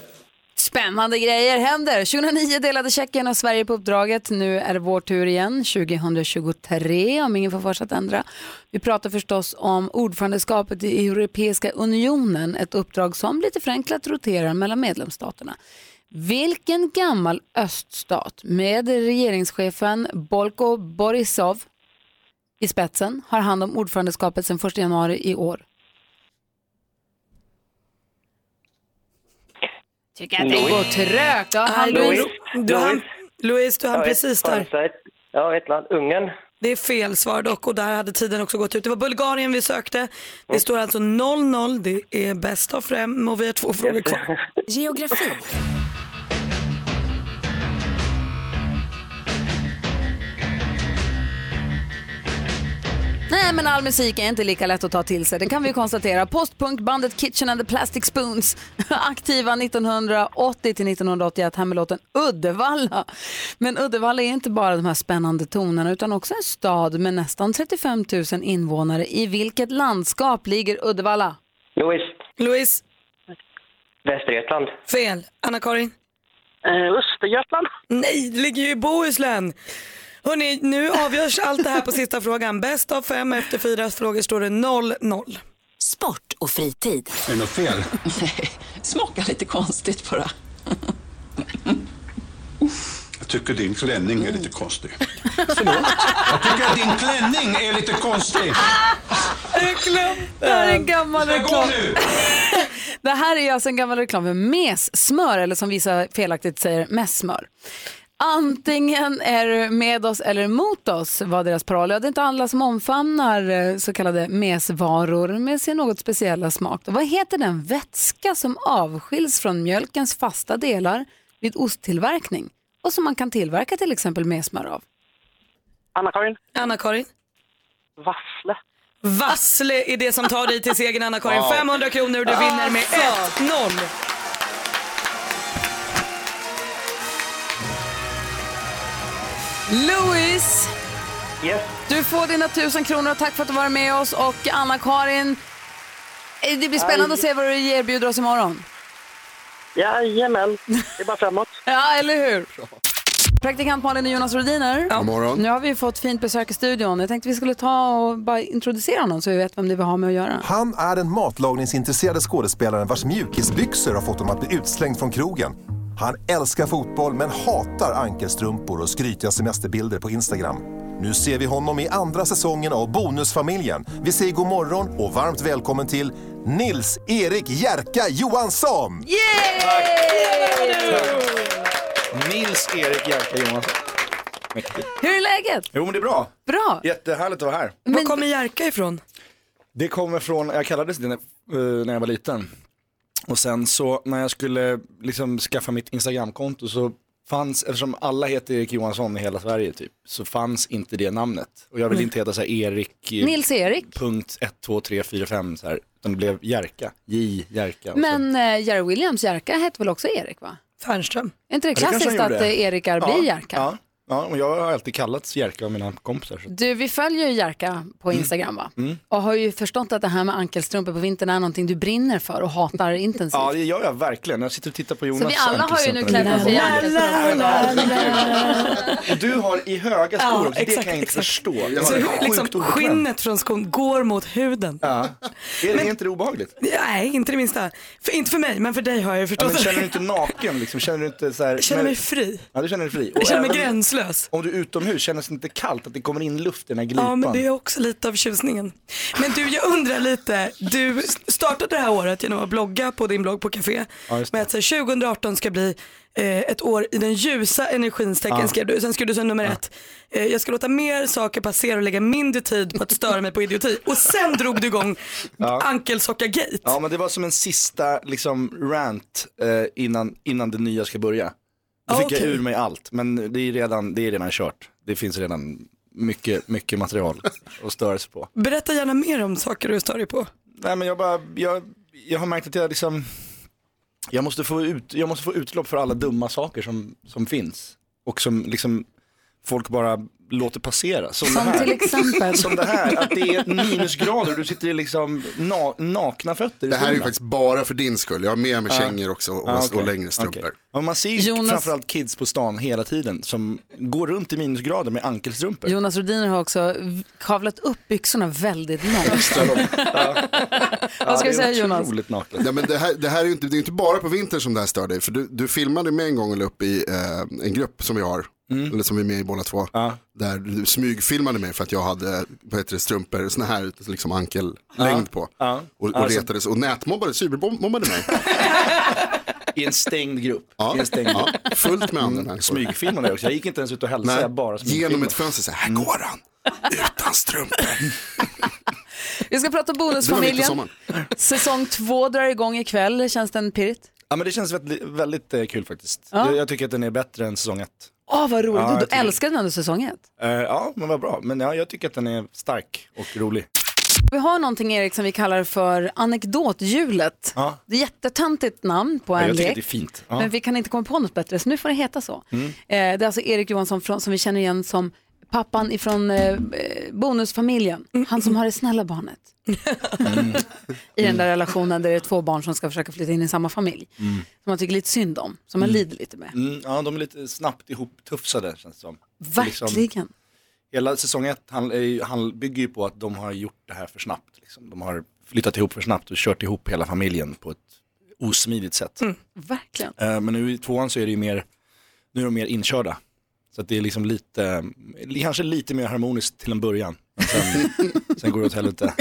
A: Spännande grejer händer. 2009 delade Tjeckien och Sverige på uppdraget. Nu är det vår tur igen, 2023, om ingen får för sig att ändra. Vi pratar förstås om ordförandeskapet i Europeiska unionen, ett uppdrag som lite förenklat roterar mellan medlemsstaterna. Vilken gammal öststat med regeringschefen Bolko Borisov i spetsen har hand om ordförandeskapet sedan 1 januari i år?
R: Tycker
O: att det Louis. går
A: trögt. Ja, han-
O: Louis.
E: Du hann,
O: Louis.
E: Louise, du hann
O: Ja, ett
E: precis där.
O: fansajt. Ja, ett land. Ungern.
E: Det är fel svar dock och där hade tiden också gått ut. Det var Bulgarien vi sökte. Det
O: Mm.
E: står alltså 0-0, det är bäst av fem och vi har två frågor kvar.
P: Geografi.
A: Nej, men all musik är inte lika lätt att ta till sig. Det kan vi ju konstatera. Postpunkbandet Kitchen and the Plastic Spoons, aktiva 1980 till 1981, här med låten Uddevalla. Men Uddevalla är inte bara de här spännande tonerna, utan också en stad med nästan 35 000 invånare. I vilket landskap ligger Uddevalla?
O: Louis.
E: Louise.
O: Västergötland.
E: Fel. Anna-Karin? Eh,
O: Östergötland.
E: Nej, det ligger ju i Bohuslän. Hörrni, nu avgörs allt det här på sista frågan. Bäst av fem efter fyra frågor står det 0-0.
P: Sport och fritid.
U: Är det något fel?
V: Smakar lite konstigt bara.
Q: tycker din klänning är lite konstig. Jag tycker att din klänning är lite konstig.
A: Reklam. Det här är en gammal
Q: Ska jag gå
A: reklam.
Q: nu?
A: Det här är alltså en gammal reklam för messmör, eller som vissa felaktigt säger, messmör. Antingen är du med oss eller mot oss var deras paroll. Ja, Det är inte alla som omfamnar eh, så kallade mesvaror med sin något speciella smak. Vad heter den vätska som avskiljs från mjölkens fasta delar vid osttillverkning och som man kan tillverka till exempel messmör av?
E: Anna-Karin. Anna-Karin. Vassle. Vassle är det som tar dig till segern Anna-Karin.
A: Wow.
E: 500 kronor och du vinner med
A: Alltså.
E: 1-0.
A: Louis! Du får dina tusen kronor och tack för att du var med oss. Och Anna-Karin, eh, det blir spännande
L: Aj.
A: att se vad du erbjuder oss imorgon.
L: Jajamän, det är bara framåt.
A: Ja, eller hur? Praktikant Malin och Jonas Rhodiner.
L: God morgon.
A: Nu har vi fått fint besök i studion. Jag tänkte vi skulle ta och bara introducera honom så vi vet vem det är vi har med att göra.
U: Han är den matlagningsintresserade skådespelaren vars mjukisbyxor har fått honom att bli utslängd från krogen. Han älskar fotboll men hatar ankelstrumpor och skrytiga semesterbilder på Instagram. Nu ser vi honom i andra säsongen av Bonusfamiljen. Vi säger god morgon och varmt välkommen till Nils-Erik Jerka Johansson!
V: Nils-Erik Jerka Johansson. Mäktigt.
A: Hur är läget?
V: Jo men det är bra.
A: Bra.
V: Jättehärligt att vara här.
E: Var kommer Jerka ifrån?
V: Det kommer från, jag kallades det när, eh, när jag var liten. Och sen så när jag skulle liksom skaffa mitt Instagramkonto så fanns, eftersom alla heter Erik Johansson i hela Sverige typ, så fanns inte det namnet. Och jag ville
A: Nej.
V: inte heta så här Erik. eh,
A: Nils-Erik.
V: Punkt 1, 2, 3, 4, 5 så här. Utan det blev Jerka. J, Jerka. och så-
A: Men eh, Jerry Williams Jerka hette väl också Erik va?
E: Fernström.
A: Är inte det
V: Ja, kanske
A: klassiskt
V: han
A: att
V: gjorde.
A: eh, Erikar
V: Ja,
A: blir Jerka?
V: Ja, ja, och jag har alltid kallats Jerka av mina kompisar. Så.
A: Du, vi följer ju Jerka på Instagram va? Mm. Och har ju förstått att det här med ankelstrumpor på vintern är någonting du brinner för och hatar intensivt.
V: Ja, det gör jag verkligen. Jag sitter och tittar på Jonas.
A: Så vi alla har ju nu
V: ankelstrumpor.
A: klätt oss i ankelstrumpor.
V: Och du har i höga skor
E: Ja,
V: också, det
E: exakt,
V: kan jag inte förstå. Jag
E: Så
V: var sjukt
E: liksom
V: obekväm.
E: skinnet från skon går mot huden.
V: Ja. Är, är inte det obehagligt?
E: Nej, inte det minsta. För, inte för mig, men för dig har jag ju
V: Ja,
E: förstått.
V: men känner du inte naken liksom? Känner du inte så här,
E: Jag Alltså- känner mig fri.
V: Ja, du känner dig fri.
E: Jag känner mig
V: även
E: gränslös.
V: Om du är utomhus, känns det inte kallt att det kommer in luft i den här glipan?
E: Ja, men det är också lite av tjusningen. Men du, jag undrar lite. Du startade det här året genom att blogga på din blogg på Café.
V: Ja, just det.
E: med att så här, 2018 ska bli eh, ett år i den ljusa energins tecken
V: Ja.
E: skrev du. Sen skrev du som nummer ett. Eh, jag ska låta mer saker passera och lägga mindre tid på att störa mig på idioti. Och sen drog du igång
V: Ja.
E: ankelsocka-gate.
V: Ja, men det var som en sista liksom, rant eh, innan, innan det nya ska börja. Då
E: Ah,
V: fick jag
E: okej.
V: ur mig allt, men det är redan, det är redan kört. Det finns redan mycket, mycket material att störa sig på.
E: Berätta gärna mer om saker du stör dig på.
V: Nej, men jag, bara, jag, jag har märkt att jag liksom, jag måste få, ut, jag måste få utlopp för alla dumma saker som, som finns. Och som liksom folk bara låter passera. Som,
A: Som
V: det här.
A: till exempel?
V: Som det här, att det är minusgrader och du sitter i liksom na, nakna fötter i
F: Det här är ju
V: solen.
F: faktiskt bara för din skull. Jag har med mig
V: Ja.
F: kängor också och,
V: Ja,
F: och
V: okej.
F: längre strumpor.
V: Okej. Ja, man ser ju
A: Jonas-
V: framförallt kids på stan hela tiden som går runt i minusgrader med ankelstrumpor.
A: Jonas Rhodiner har också v- kavlat upp byxorna väldigt långt. Vad ska du säga Jonas?
F: Ja, men det, här, det här är ju inte, det är inte bara på vintern som det här stör dig. För du, du filmade med en gång eller upp i eh, en grupp som vi har,
V: Mm.
F: eller som vi är med i båda två. Där du smygfilmade mig för att jag hade vad heter det, strumpor, såna här liksom ankellängd på.
V: Ja.
F: Och, och
V: Alltså-
F: retades och nätmobbade, cybermobbade mig.
V: I en stängd grupp.
F: Ja,
V: I en stängd
F: ja,
V: grupp.
F: fullt med
V: Mm.
F: andra människor.
V: Smygfilmade också. Jag gick inte ens ut och hälsade,
F: Nej,
V: jag bara smygfilmade.
F: genom ett fönster, så här "Här går han, utan strumpor.
A: Vi ska prata
V: Det var mitt i
A: Bonusfamiljen.
V: sommaren.
A: Säsong två drar igång ikväll. Känns den pirrigt?
V: Ja men det känns väldigt, väldigt eh, kul faktiskt.
A: Ja.
V: Jag, jag tycker att den är bättre än säsong ett.
A: Åh, vad roligt.
V: Ja,
A: du
V: jag
A: du
V: tycker-
A: älskade den under säsong ett.
V: Eh, ja men vad bra, men ja, jag tycker att den är stark och rolig.
A: Vi har någonting Erik som vi kallar för anekdothjulet.
V: Ja.
A: Det är ett jättetöntigt namn på
V: Ja,
A: en
V: jag tycker
A: lek.
V: att det är fint. Ja.
A: Men vi kan inte komma på något bättre, så nu får det heta så.
V: Mm.
A: Eh, det är alltså Erik Johansson från, som vi känner igen som pappan ifrån eh, Bonusfamiljen. Han som har det snälla barnet.
V: Mm.
A: I den där relationen där det är två barn som ska försöka flytta in i samma familj.
V: Mm.
A: Som man tycker lite synd om, som man
V: Mm.
A: lider lite med.
V: Mm, ja de är lite snabbt ihoptufsade känns det som. Det är liksom-
A: Verkligen.
V: Hela säsong ett han, han bygger ju på att de har gjort det här för snabbt. Liksom. De har flyttat ihop för snabbt och kört ihop hela familjen på ett osmidigt sätt.
A: Verkligen.
V: Eh, Men nu i tvåan så är det ju mer, nu är de mer inkörda. Så att det är liksom lite, kanske lite mer harmoniskt till en början. Men sen, sen går det åt helvete.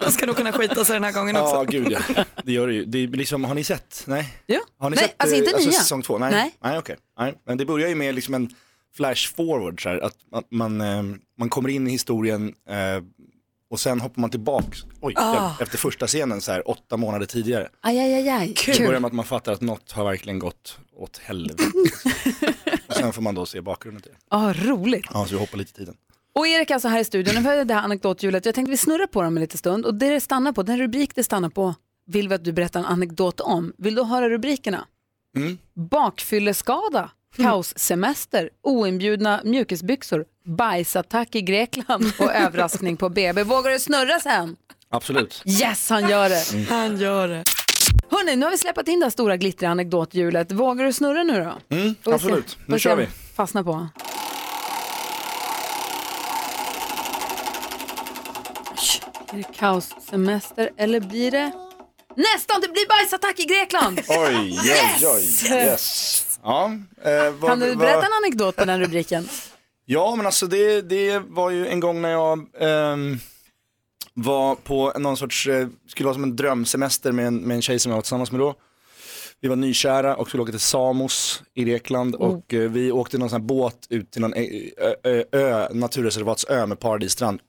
E: Det ska nog kunna skita sig den här gången också.
V: Ja, gud ja. Det gör det ju. Det är liksom, har ni sett? Nej?
A: Ja.
V: Har ni
E: Nej,
V: sett
E: alltså
V: eh,
E: inte nya.
V: säsong två? Nej,
E: Nej.
V: Nej. okej. Nej. Men det börjar ju med liksom en flash forward så här, att man- man, eh, man kommer in i historien eh, och sen hoppar man tillbaks, oj,
A: Ah.
V: hjälp, efter första scenen så här åtta månader tidigare.
A: Aj, aj, aj, aj.
V: Det börjar med att man fattar att något har verkligen gått åt helvete. och sen får man då se bakgrunden till det.
A: Ah, roligt.
V: Ja, så vi hoppar lite i tiden.
A: Och Erik är alltså här i studion. Nu hörde det här anekdothjulet. Jag tänkte vi snurrar på dem en liten stund. Och det det stannar på, den rubrik det stannar på vill vi att du berättar en anekdot om. Vill du höra rubrikerna?
V: Mm.
A: Bakfylleskada, kaossemester, oinbjudna mjukisbyxor, bajsattack i Grekland och överraskning på BB. Vågar du snurra sen?
V: Absolut.
A: Yes, han gör det.
V: Mm.
A: Han gör det. Hörni, nu har vi släppt in det här stora glittriga anekdothjulet. Vågar du snurra nu då?
V: Mm,
A: Får vi se-
V: absolut.
A: får
V: Nu
A: se
V: kör
A: om
V: vi.
A: Fastna på. Blir det kaossemester eller blir det... Nästan, det blir bajsattack i Grekland!
V: Oj, oj, oj. Yes. Ja, eh, vad-
A: Kan du
V: vad-
A: berätta en anekdot på den rubriken?
V: Ja, men alltså det, det var ju en gång när jag ehm, var på någon sorts, eh, skulle vara som en drömsemester med en, med en tjej som jag var tillsammans med då. Vi var nykära och skulle åka till Samos i Grekland och eh, vi åkte någon sån här båt ut till någon eh, ö, ö, ö, naturreservatsö med paradisstrand.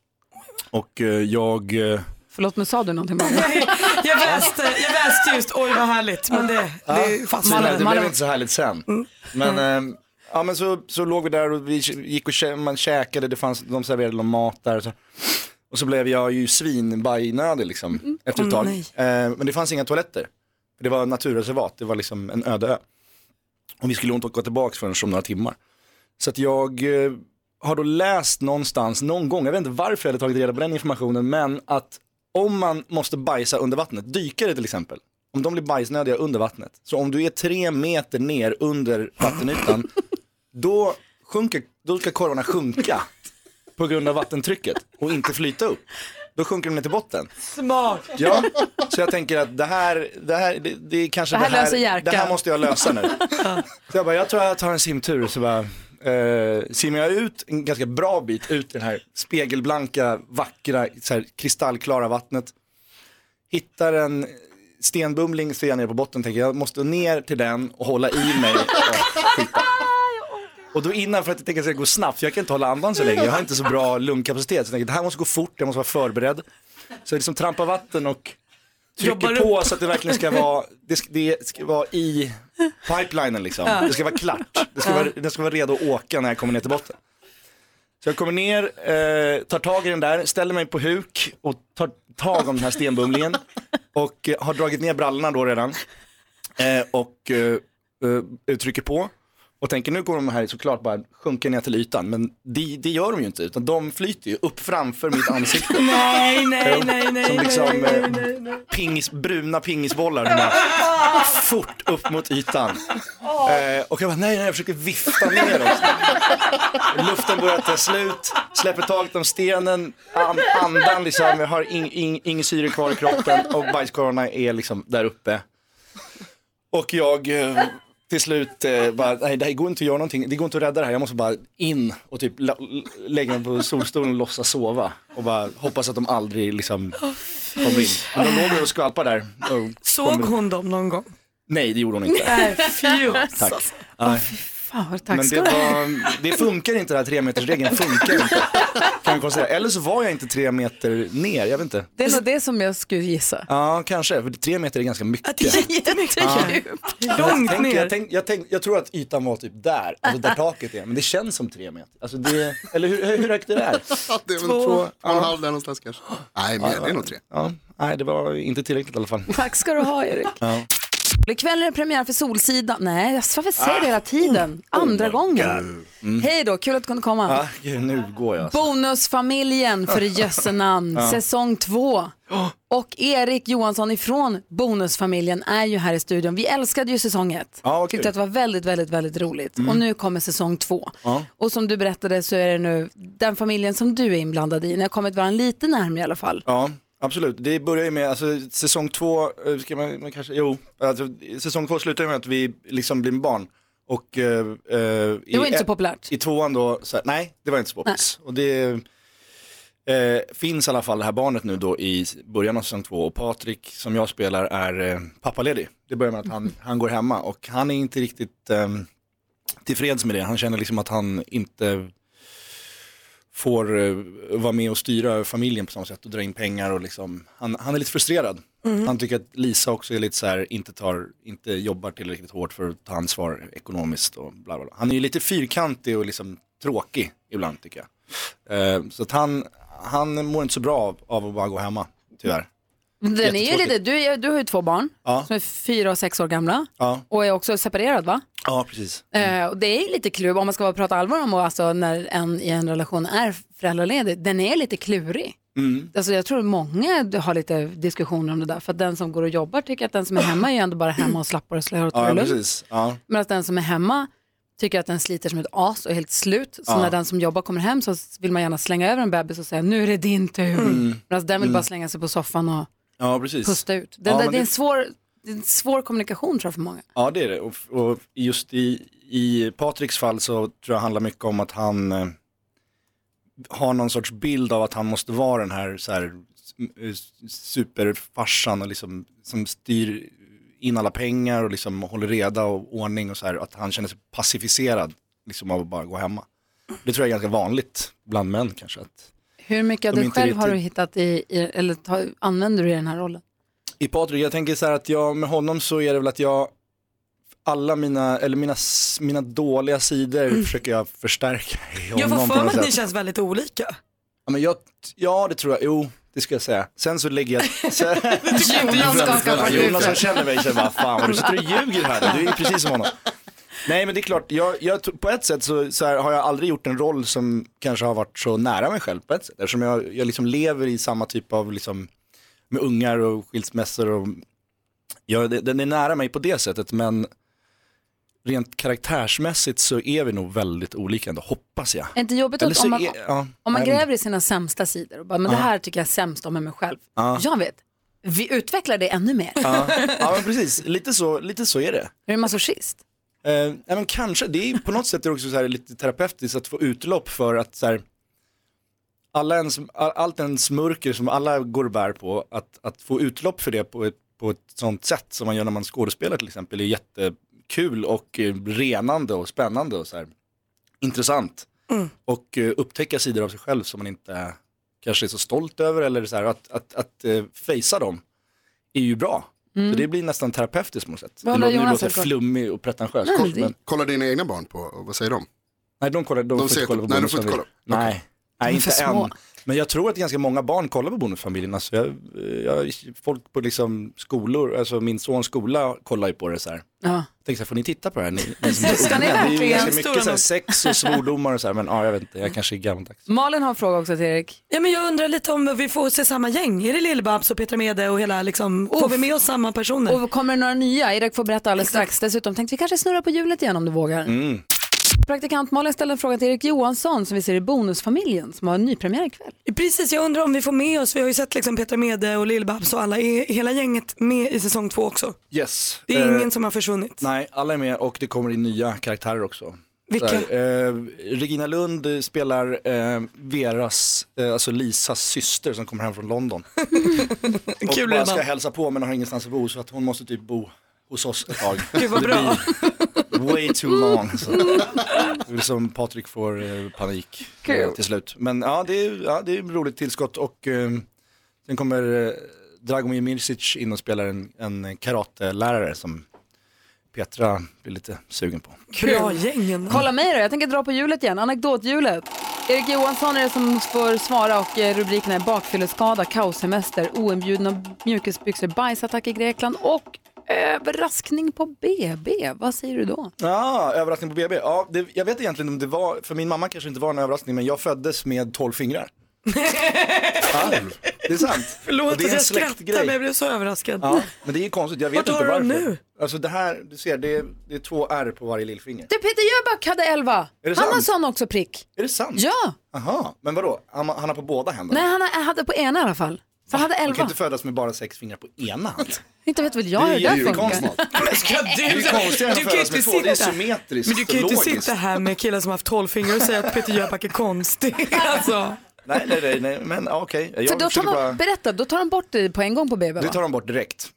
V: Och eh, jag eh,
A: Förlåt, men sa du någonting? Malin?
E: Jag väste, jag väste just, oj vad härligt. Men det, det fanns
V: det,
E: ju Mm.
V: det blev inte så härligt sen. Men, ehm, ja, men så, så låg vi där och vi gick och kä- man käkade, det fanns, de serverade någon mat där. Och så, och så blev jag ju svinbajnödig liksom, efter ett
E: Åh,
V: tag.
E: Mm. nej.
V: Eh, men det fanns inga toaletter. För Det var naturreservat, det var liksom en öde ö. Och vi skulle inte åka tillbaka förrän om några timmar. Så att jag eh, har då läst någonstans, någon gång, jag vet inte varför jag hade tagit reda på den informationen, men att om man måste bajsa under vattnet, dykare till exempel, om de blir bajsnödiga under vattnet, så om du är tre meter ner under vattenytan, då, sjunker, då ska korvarna sjunka på grund av vattentrycket och inte flyta upp. Då sjunker de ner till botten.
E: Smart.
V: Ja, så jag tänker att det här, det här, det, det är kanske
E: Det här
V: det
E: löser
V: här,
E: Jerka.
V: det här måste jag lösa nu. Så jag bara, jag tror jag tar en simtur. Så bara, eh, simmar jag ut en ganska bra bit ut i det här spegelblanka, vackra, så här, kristallklara vattnet. Hittar en stenbumling, ser jag ner på botten, tänker jag måste ner till den och hålla i mig. Och, skita. och då innan, för att jag tänker att det ska gå snabbt, jag kan inte hålla andan så länge, jag har inte så bra lungkapacitet. Så jag tänker, det här måste gå fort, jag måste vara förberedd. Så jag liksom trampar vatten och
E: Jobbar
V: trycker på
E: upp.
V: så att det verkligen ska vara, det ska, det ska vara i pipelinen liksom.
E: Ja.
V: Det ska vara klart. Det ska vara, det ska vara redo att åka när jag kommer ner till botten. Så jag kommer ner, eh, tar tag i den där, ställer mig på huk och tar tag om den här stenbumlingen. Och eh, har dragit ner brallorna då redan. Eh, och eh, eh, trycker på. Och tänker nu kommer de här såklart bara sjunka ner till ytan. Men det, det gör de ju inte, utan de flyter ju upp framför mitt ansikte.
E: Nej, nej,
V: Jo,
E: nej, nej,
V: Som liksom
E: nej, nej,
V: eh, Pingis, bruna pingisbollar. De bara fort upp mot ytan. Eh, och jag bara, nej, nej, jag försöker vifta ner dem. Luften börjar ta slut, släpper taget om stenen, an, andan liksom, jag har ing- ing- ingen syre kvar i kroppen och bajskorvarna är liksom där uppe. Och jag eh, till slut eh, bara, nej det här går inte att göra någonting, det går inte att rädda det här, jag måste bara in och typ la- l- lägga mig på solstolen och låtsas sova och bara hoppas att de aldrig liksom kommer in. Men de låg där och skvalpade där. Och
E: Såg
V: kom-
E: hon dem någon gång?
V: Nej det gjorde hon inte.
E: Nej, fy.
V: Tack. Nej.
A: Fan, vad tack
V: Men
A: ska
V: det,
A: du ha.
V: var, det funkar inte, den här tremetersregeln funkar inte. Kan jag konstatera. Eller så var jag inte tre meter ner, jag vet inte.
A: Det är nog det som jag skulle gissa.
V: Ja, kanske. För tre meter är ganska mycket.
A: Jättemycket
V: Ja. Jag,
A: Långt
V: tänker,
A: ner.
V: jag, tänk, jag, tänk, jag tror att ytan var typ där, alltså där taket är, men det känns som tre meter. Alltså det, eller hur, hur högt är det där?
F: Det är väl två, två och en halv där någonstans kanske. Nej, mer, det är nog tre.
V: Ja, nej, det var inte tillräckligt i alla fall.
A: Tack ska du ha Erik.
V: Ja.
A: Ikväll är det premiär för Solsidan. Nej, alltså, varför säger du
V: Ah.
A: det hela tiden? Andra gången.
V: Oh Mm. Ah.
A: Hej då, kul att du kunde komma.
V: Ja, gud, nu går jag.
A: Bonusfamiljen för i jösse namn,
V: Ja.
A: säsong två.
V: Ah.
A: Och Erik Johansson ifrån Bonusfamiljen är ju här i studion. Vi älskade ju säsong ett.
V: Ja, Ah, vad
A: Tyckte
V: kul.
A: att det var väldigt, väldigt, väldigt roligt.
V: Mm. Ah.
A: Och nu kommer säsong två.
V: Ja.
A: Och som du berättade så är det nu den familjen som du är inblandad i. Ni har kommit varandra lite närmare i alla fall.
V: Ja, absolut. Det börjar ju med, alltså, säsong två, eh, ska man, man kanske, jo, alltså, säsong två slutar ju med att vi liksom blir barn Och, eh, eh,
A: Det var inte så populärt.
V: I tvåan då, så här, nej det var inte så poppis. Och det eh, finns i alla fall det här barnet nu då i början av säsong två och Patrik som jag spelar är eh, pappaledig. Det börjar med att han, han går hemma och han är inte riktigt eh, tillfreds med det. Han känner liksom att han inte får eh, vara med och styra familjen på samma sätt och dra in pengar och liksom, han, han är lite frustrerad.
E: Mm.
V: Han tycker att Lisa också är lite så här, inte, tar, inte jobbar tillräckligt hårt för att ta ansvar ekonomiskt och bla bla bla. Han är ju lite fyrkantig och liksom tråkig ibland tycker jag. Eh, så att han, han mår inte så bra av, av att bara gå hemma, tyvärr.
A: Den är ju
V: Jättetråkigt.
A: lite, du, är- du har ju två barn
V: Ja.
A: som är fyra och sex år gamla
V: Ja,
A: och är också separerad va?
V: ja precis.
A: Eh, och det är ju lite klurig, om man ska bara prata allvar om och alltså, när en i en relation är föräldraledig, den är lite klurig.
V: Mm.
A: Alltså, jag tror många har lite diskussioner om det där, för att den som går och jobbar tycker att den som är hemma är ju ändå bara hemma och slappar och slår och tar
V: Ja,
A: det lugnt.
V: precis. Ja.
A: Men att den som är hemma tycker att den sliter som ett as och är helt slut. Så
V: Ja.
A: när den som jobbar kommer hem så vill man gärna slänga över en bebis och säga nu är det din tur.
V: Mm.
A: Medan den vill
V: Mm.
A: bara slänga sig på soffan och
V: ja, precis.
A: pusta ut. Det,
V: Ja,
A: det,
V: men
A: det, är en
V: det-
A: svår, det är en svår kommunikation tror jag för många.
V: Ja det är det och, och just i, i Patriks fall så tror jag handlar mycket om att han eh, har någon sorts bild av att han måste vara den här, så här eh, superfarsan och liksom, som styr in alla pengar och liksom håller reda och ordning och så här att han känner sig pacificerad liksom av att bara gå hemma. Det tror jag är ganska vanligt bland män kanske. Att,
A: Hur mycket av
V: De är
A: dig
V: inte
A: själv har du
V: riktigt-
A: hittat i, i eller ta, använder du i den här rollen?
V: I Patrik, jag tänker så här att jag, med honom så är det väl att jag, alla mina, eller mina, s- mina dåliga sidor försöker jag förstärka i honom
E: Jag får
V: på
E: för
V: något
E: mig att ni
V: sätt.
E: känns väldigt olika.
V: Ja, men jag, ja det tror jag, jo det ska jag säga. Sen så lägger jag... Sen,
E: Jonas skakar på huvudet.
V: Jonas som känner mig säger bara, fan vad du sitter och ljuger här, du är ju precis som honom. Nej men det är klart, jag, jag, tror- på ett sätt så, så här, har jag aldrig gjort en roll som kanske har varit så nära mig själv på ett sätt. Eftersom jag, jag liksom lever i samma typ av, liksom, med ungar och skilsmässor och, ja, det, den är nära mig på det sättet men rent karaktärsmässigt så är vi nog väldigt olika ändå, hoppas jag.
A: Är inte jobbigt
V: Eller
A: att
V: så
A: om man,
V: är- ja,
A: om man
V: jag vet inte.
A: gräver i sina sämsta sidor och bara, men
V: Ja.
A: det här tycker jag är sämst om med mig själv.
V: Ja.
A: Jag vet, vi utvecklar det ännu mer.
V: Ja, ja men precis. Lite så, lite så är det.
A: Är du masochist?
V: Eh, nej, men kanske, det är på något sätt är det också så här lite terapeutiskt att få utlopp för att så här, alla ens, all, allt ens mörker som alla går och bär på, att, att få utlopp för det på ett, på ett sånt sätt som man gör när man skådespelar till exempel är jättekul och eh, renande och spännande och så här, intressant. Och eh, upptäcka sidor av sig själv som man inte kanske är så stolt över eller så här, att, att, att eh, fejsa dem är ju bra. Så det blir nästan terapeutiskt på något sätt.
A: Vad
V: det
A: håller
V: låter, nu
A: Jonas
V: låter
A: för-
V: flummig och pretentiös.
A: Nej,
V: kort,
A: det-
V: men...
F: Kollar dina egna barn på, vad säger de?
V: Nej, de kollar, de,
F: De
V: får
F: ser-
V: inte kolla på
F: nej, de får inte
V: Bonusfamiljen.
F: kolla.
V: Nej, nej
F: är
V: inte
F: för små.
V: än. Men jag tror att ganska många barn kollar på Bonusfamiljen. Alltså jag, jag, folk på liksom skolor, alltså min sons skola kollar ju på det så här.
A: Ja.
V: Jag tänkte så här, får ni titta på det här? Ni, ni som är
A: Ska
V: unga?
A: ni
V: det är ju
A: verkligen?
V: ganska
A: Stora
V: mycket så här,
A: nog.
V: sex och svordomar och så här, men ja, jag vet inte, jag kanske är gammaldags.
A: Malin har en fråga också till Erik.
E: Ja, men jag undrar lite om vi får se samma gäng. Är det Lill-Babs och Petra Mede och hela liksom, får vi med oss samma personer?
A: Och kommer det några nya? Erik får berätta alldeles strax. Dessutom tänkte vi kanske snurra på hjulet igen om du vågar.
V: Mm.
A: Praktikant Malin ställde en fråga till Erik Johansson som vi ser i Bonusfamiljen som har en nypremiär ikväll.
E: Precis, jag undrar om vi får med oss, vi har ju sett liksom Petra Mede och Lill-Babs och alla, är hela gänget med i säsong två också?
V: Yes.
E: Det är
V: Eh,
E: ingen som har försvunnit.
V: Nej, alla är med och det kommer in nya karaktärer också.
E: Vilka?
V: Så här, eh, Regina Lund eh, spelar eh, Veras, eh, alltså Lisas syster som kommer hem från London. och
E: Kul
V: bara
E: redan.
V: ska hälsa på men har ingenstans att bo så att hon måste typ bo hos oss ett tag.
E: Gud, vad
V: Det
E: bra.
V: blir Way too long. Så. Det är som Patrik får eh, panik eh,
E: Kul.
V: till slut. Men ja det, är, ja, det är ett roligt tillskott och eh, sen kommer eh, Dragomir Mirsic in och spelar en, en karatelärare som Petra blir lite sugen på.
E: Bra gängen.
A: Kolla mig då, jag tänker dra på hjulet igen, anekdothjulet. Erik Johansson är det som får svara och eh, rubrikerna är bakfylleskada, kaossemester, oinbjudna mjukisbyxor, bajsattack i Grekland och överraskning på BB. Vad säger du då?
V: Ja, Ah, överraskning på BB. Ja, det, jag vet egentligen om det var, för min mamma kanske inte var en överraskning, men jag föddes med 12 fingrar. ja, det är sant.
E: Förlåt
V: Och det är
E: att
V: en
E: jag skrattar
V: släktgrej.
E: men jag blev så överraskad.
V: Ja, men det är ju konstigt, jag vet
E: Vart
V: inte
E: har du
V: varför.
E: dem nu?
V: Alltså det här, du ser, det är, det är två R på varje lillfinger.
A: Du, Peter Jöback hade 11.
V: Är det
A: Han har
V: sant?
A: sån också prick.
V: Är det sant?
A: Ja.
V: Aha, men vadå, han, han har på båda händerna?
A: Nej, han hade på ena i alla fall. För hade
V: Man kan
A: elva.
V: inte födas med bara sex fingrar på ena hand.
A: Inte vet väl jag hur det där funkar.
V: Men ska du,
E: Det är ju konstigare än att födas med två, det är symmetriskt, Men du kan ju inte
V: logiskt.
E: sitta här med killar som har haft tolv fingrar och säga att Peter Jöback är konstig. Alltså.
V: Nej, nej, nej, nej. men ja, okej.
A: För
V: Jag
A: då tar
V: försöker
A: man,
V: bara...
A: Berätta, då tar de bort dig på en gång på BB va?
V: Det tar de bort direkt.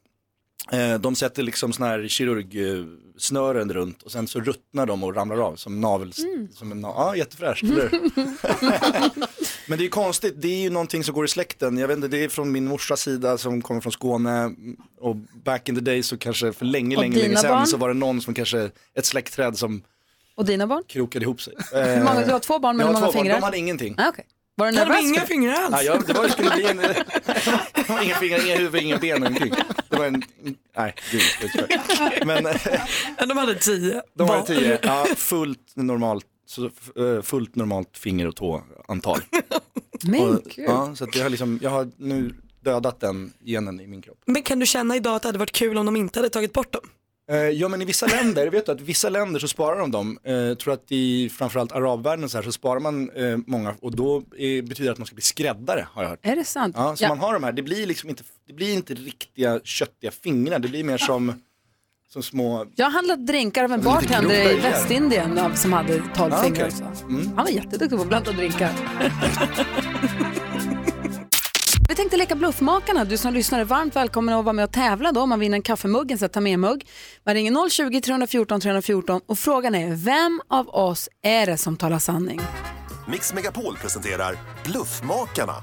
V: Eh, De sätter liksom såna här kirurgsnören runt och sen så ruttnar de och ramlar av som navel...
A: Mm.
V: Som en na- ja, jättefräscht. eller hur? Men det är ju konstigt, det är ju någonting som går i släkten. Jag vet inte, det är från min morsas sida som kommer från Skåne och back in the day så kanske för länge,
A: Och
V: länge, länge
A: dina
V: sedan
A: barn?
V: så var det någon som kanske, ett släktträd som
A: Och dina barn?
V: krokade ihop sig. Eh,
A: Hur många, du har två barn men hur
V: Jag har
A: många
V: två barn,
A: fingrar?
V: de hade ingenting.
A: Ah, okay. Var det
E: Hade de
A: nervös?
E: inga fingrar alls?
V: Nej, jag, det var, det skulle bli en, inga fingrar, inga huvud, inga ben och ingenting. Det var en, nej gud. det tror jag. Men, eh,
E: de hade tio.
V: De var
E: barn.
V: tio, ja, fullt normalt, så, eh, fullt normalt finger och tåantal.
A: Men
V: Och- Ja, så att jag har liksom, jag har nu dödat den genen i min kropp.
E: Men kan du känna idag att det hade varit kul om de inte hade tagit bort dem?
V: Eh, Ja men i vissa länder, vet du att i vissa länder så sparar de dem. Eh, Jag tror att i framförallt arabvärlden så, här, så sparar man eh, många och då eh, betyder det att man ska bli skräddare har jag hört.
A: Är det sant?
V: Ja, så man har de här, det blir liksom inte, det blir inte riktiga köttiga fingrar, det blir mer som, som små...
A: Jag har handlat drinkar av en
V: Lite
A: bartender i
V: krokar.
A: Västindien av- som hade tolv
V: Ah,
A: fingrar.
V: okej.
A: och så.
V: Mm.
A: Han var jätteduktig på att blanda drinkar. Vi tänkte leka Bluffmakarna. Du som lyssnar är varmt välkommen att vara med och tävla då. Man vinner en kaffemugg, en ta med-mugg. Man ringer 020-314 314 och frågan är vem av oss är det som talar sanning?
U: Mix Megapol presenterar Bluffmakarna.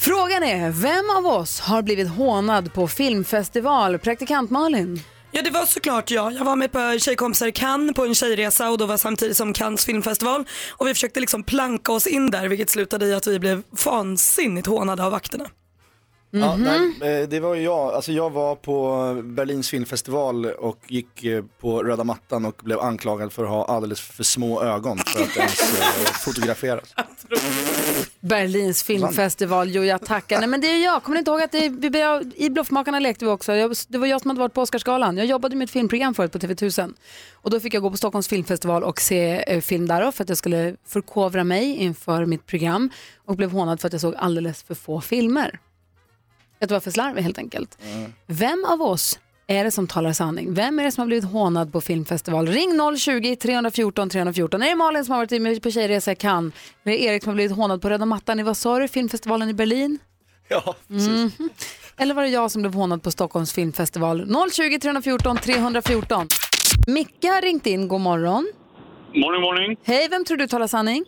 A: Frågan är vem av oss har blivit hånad på filmfestival? Praktikant Malin.
E: Ja det var såklart jag. Jag var med på tjejkompisar i Cannes på en tjejresa och då var samtidigt som Cannes filmfestival. Och vi försökte liksom planka oss in där vilket slutade i att vi blev vansinnigt hånade av vakterna.
V: Ja,
A: Mhm.
V: nej, eh, det var ju jag, alltså jag var på Berlins filmfestival och gick eh, på röda mattan och blev anklagad för att ha alldeles för små ögon för att ens eh, fotograferas.
A: Berlins filmfestival, jo jag tackar. Nej men det är jag, kommer ni inte ihåg att det, vi, vi- i Bluffmakarna lekte vi också. Jag, det var jag som hade varit på Oscarsgalan. Jag jobbade med ett filmprogram förut på TV1000. Och då fick jag gå på Stockholms filmfestival och se eh, film där då, för att jag skulle förkovra mig inför mitt program. Och blev hånad för att jag såg alldeles för få filmer. Att det var för slarvig helt enkelt. Vem av oss är det som talar sanning? Vem är det som har blivit hånad på filmfestival? Ring 020-314 314. Är det Malin som har varit med på tjejresa i Cannes? Är det Erik som har blivit hånad på röda mattan i, vad sa du, filmfestivalen i Berlin?
V: Ja,
A: Mhm. Eller var det jag som blev hånad på Stockholms filmfestival? 020-314 314. Micke har ringt in, god morgon.
M: Morning, morning.
A: Hej, vem tror du talar sanning?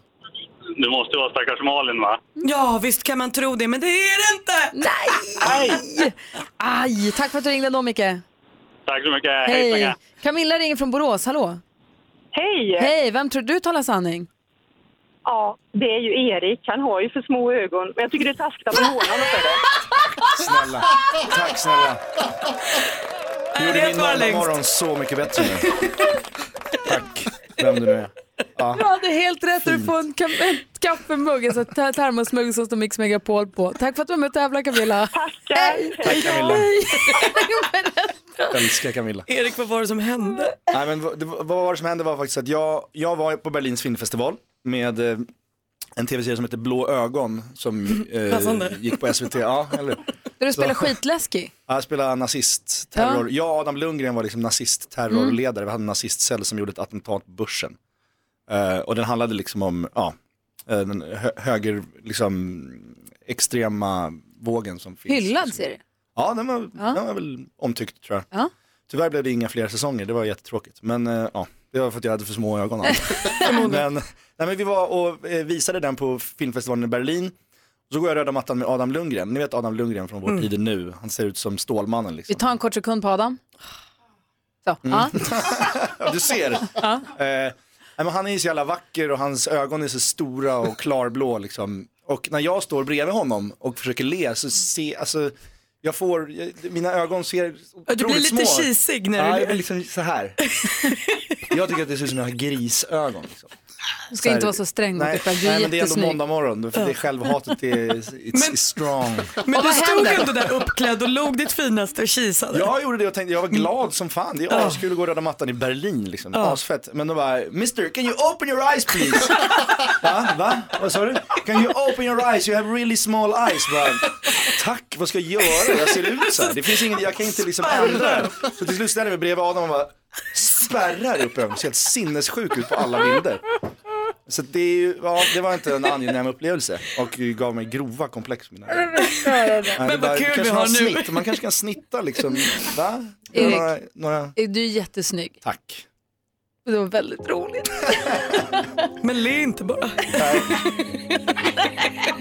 M: Det måste vara stackars Malin, va?
E: Ja visst kan man tro det men det är det inte!
A: Nej! Aj, tack för att du ringde då Micke.
M: Tack så mycket.
A: Hej! Camilla ringer från Borås, hallå? Hej! Hej, vem tror du talar sanning?
L: Ja, det är ju Erik. Han har ju för små ögon. Men jag tycker det är taskigt att håna honom för det.
V: Snälla, tack snälla. Du gjorde min måndag morgon så mycket bättre nu. Tack, vem du nu är. Ja.
A: Du hade helt rätt, du får en, ka- en kaffemugg, alltså ter- termosmugg som står Mix Megapol på. Tack för att du var med och tävlade Camilla. Tackar! Hej!
V: Tack Camilla,
A: Jag
V: älskar Camilla.
E: Erik vad var det som hände?
V: Nej, men vad, det, vad var det som hände var faktiskt att jag, jag var på Berlins filmfestival med eh, en tv-serie som heter Blå ögon som
A: Passande.
V: eh, gick på SVT. Ja, eller
A: Där du spelar
V: Så-
A: skitläskig.
V: Ja, Jag spelade nazist, terror.
A: Ja. Mm.
V: Jag och Adam Lundgren var liksom nazistterrorledare. Vi hade en nazistcell som gjorde ett attentat på börsen. Eh, och den handlade liksom om, ja, eh, den hö- höger, liksom extrema vågen som finns.
A: Hyllad ser du.
V: Ja, den var, Den var väl omtyckt tror jag.
A: Ja.
V: Tyvärr blev det inga fler säsonger, det var jättetråkigt. Men eh, ja, det var för att jag hade för små ögon. men, nej, men vi var och eh, visade den på filmfestivalen i Berlin. Så går jag röda mattan med Adam Lundgren. Ni vet Adam Lundgren från vår
A: Mm.
V: tid nu. Han ser ut som Stålmannen liksom.
A: Vi tar en kort sekund på Adam. Så,
V: Mm.
A: ja.
V: Ja, Du ser. eh, nej, men han är ju så jävla vacker och hans ögon är så stora och klarblå liksom. Och när jag står bredvid honom och försöker le så ser, alltså, jag får, jag, mina ögon ser
E: Ja, du blir
V: otroligt
E: lite
V: små.
E: kisig när du
V: ja,
E: ler.
V: jag blir liksom så här. Jag tycker att det ser ut som jag har grisögon. Liksom.
A: Du ska inte vara så sträng mot dig själv, du är
V: Nej men det är ändå
A: jättesnygg.
V: måndag morgon, för det är självhatet är it's,
E: Men-
V: is strong.
E: Men du stod ändå där uppklädd och log ditt finaste och kisade.
V: Jag gjorde det och tänkte, jag var glad som fan. Det är askul att gå röda mattan i Berlin liksom.
E: Ja.
V: Asfett. Men då bara, Mr, can you open your eyes please? Va? Va? Vad sa du? Can you open your eyes? You have really small eyes. Bara, Tack, vad ska jag göra? Jag ser ut så här. Det finns ingen, jag kan inte liksom ändra den. Så till slut ställde jag mig bredvid Adam och bara spärrar upp ögonen. Ser helt sinnessjuk ut på alla bilder. Så det, är ju, ja, det var inte en angenäm upplevelse och gav mig grova komplex. Mina. Nej, det
E: Men
V: där-
E: vad kul
V: kanske
E: vi
V: några
E: har nu.
V: Snitt. Man kanske kan snitta liksom. Va?
A: Erik.
V: Några, några...
A: Är Du är jättesnygg.
V: Tack.
A: Det var väldigt roligt.
E: Men le inte bara.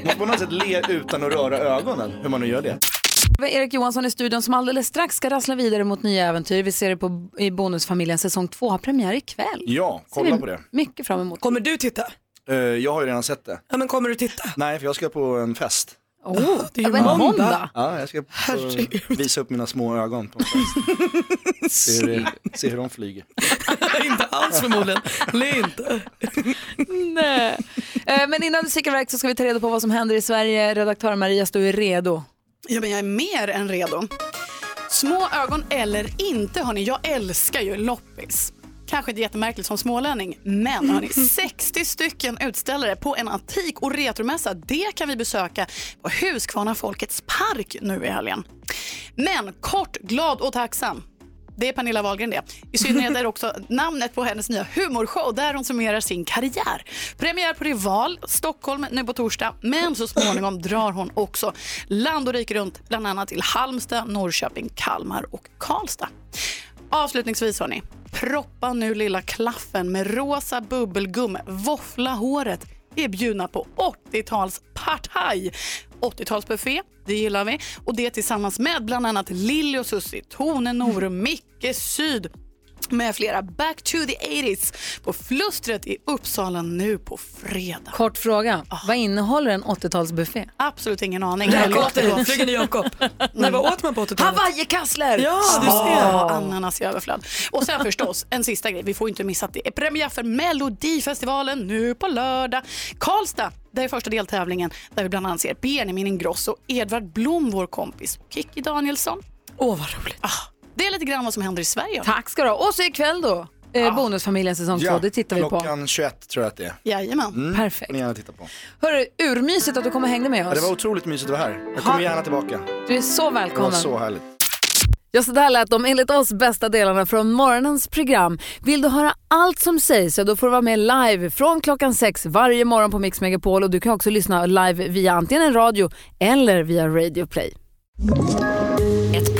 V: Måste på något sätt le utan att röra ögonen, hur man nu gör det.
A: Det var Erik Johansson i studion som alldeles strax ska rassla vidare mot nya äventyr. Vi ser det på, i Bonusfamiljen säsong 2, har premiär ikväll.
V: Ja, kolla på det.
A: Mycket fram emot.
E: Kommer du titta?
V: Eh, Jag har ju redan sett det.
E: Ja men kommer du titta?
V: Nej, för jag ska på en fest.
A: Oh,
E: det är ju
A: men
E: måndag.
V: Ja, jag ska på, visa upp mina små ögon på en fest. se, hur det, se hur de flyger.
E: inte alls förmodligen. Le inte.
A: Nej. Eh, Men innan du sticker iväg så ska vi ta reda på vad som händer i Sverige. Redaktör Maria, står ju redo?
G: Ja, men jag är mer än redo. Små ögon eller inte, hörni. Jag älskar ju loppis. Kanske inte jättemärkligt som smålänning, men hörni, 60 stycken utställare på en antik och retromässa. Det kan vi besöka på Huskvarna Folkets park nu i helgen. Men kort, glad och tacksam. Det är Pernilla Wahlgren det. I synnerhet är det också namnet på hennes nya humorshow där hon summerar sin karriär. Premiär på Rival, Stockholm nu på torsdag. Men så småningom drar hon också land och rike runt, bland annat till Halmstad, Norrköping, Kalmar och Karlstad. Avslutningsvis hörni, proppa nu lilla klaffen med rosa bubbelgum, våffla håret. Vi är bjudna på 80-tals partaj. 80-talsbuffé, det gillar vi. Och det tillsammans med bland annat Lilly och Susie, Tone Norum, Micke Syd med flera Back to the 80s på Flustret i Uppsala nu på fredag.
A: Kort fråga,
V: Ah.
A: vad innehåller en 80-talsbuffé?
G: Absolut ingen aning.
E: Jakob, flygande Jakob.
G: Mm.
E: Nej, vad åt man på 80-talet?
A: Hawaii-kassler!
E: Ja, du
G: Ja,
E: ser.
G: ananas i överflöd. Och sen förstås, en sista grej. Vi får inte missa att det är premiär för Melodifestivalen nu på lördag. Karlstad, det är första deltävlingen där vi bland annat ser Benjamin Ingrosso, Edvard Blom, vår kompis, och Kikki Danielsson. Ah,
E: Åh, vad roligt.
G: Det är lite grann vad som händer i Sverige.
A: Ah. Tack ska du ha. Och så ikväll då, eh, Bonusfamiljen säsong 2, det tittar vi på.
V: Ah. klockan 21 tror jag att det är.
G: Jajamän.
A: Perfekt. Alltså-
V: Får ni gärna titta på.
A: Hörru, urmysigt att du kom och hängde med
V: Ja, det
A: oss.
V: var otroligt mysigt att vara här. Jag kommer gärna tillbaka.
A: Du är så
V: Det var
A: välkommen.
V: så härligt.
A: Ja, så där lät de enligt oss bästa delarna från morgonens program. Vill du höra allt som sägs så då får du vara med live från klockan sex varje morgon på Mix Megapol och du kan också lyssna live via antingen en radio eller via Radio Play.
C: Ett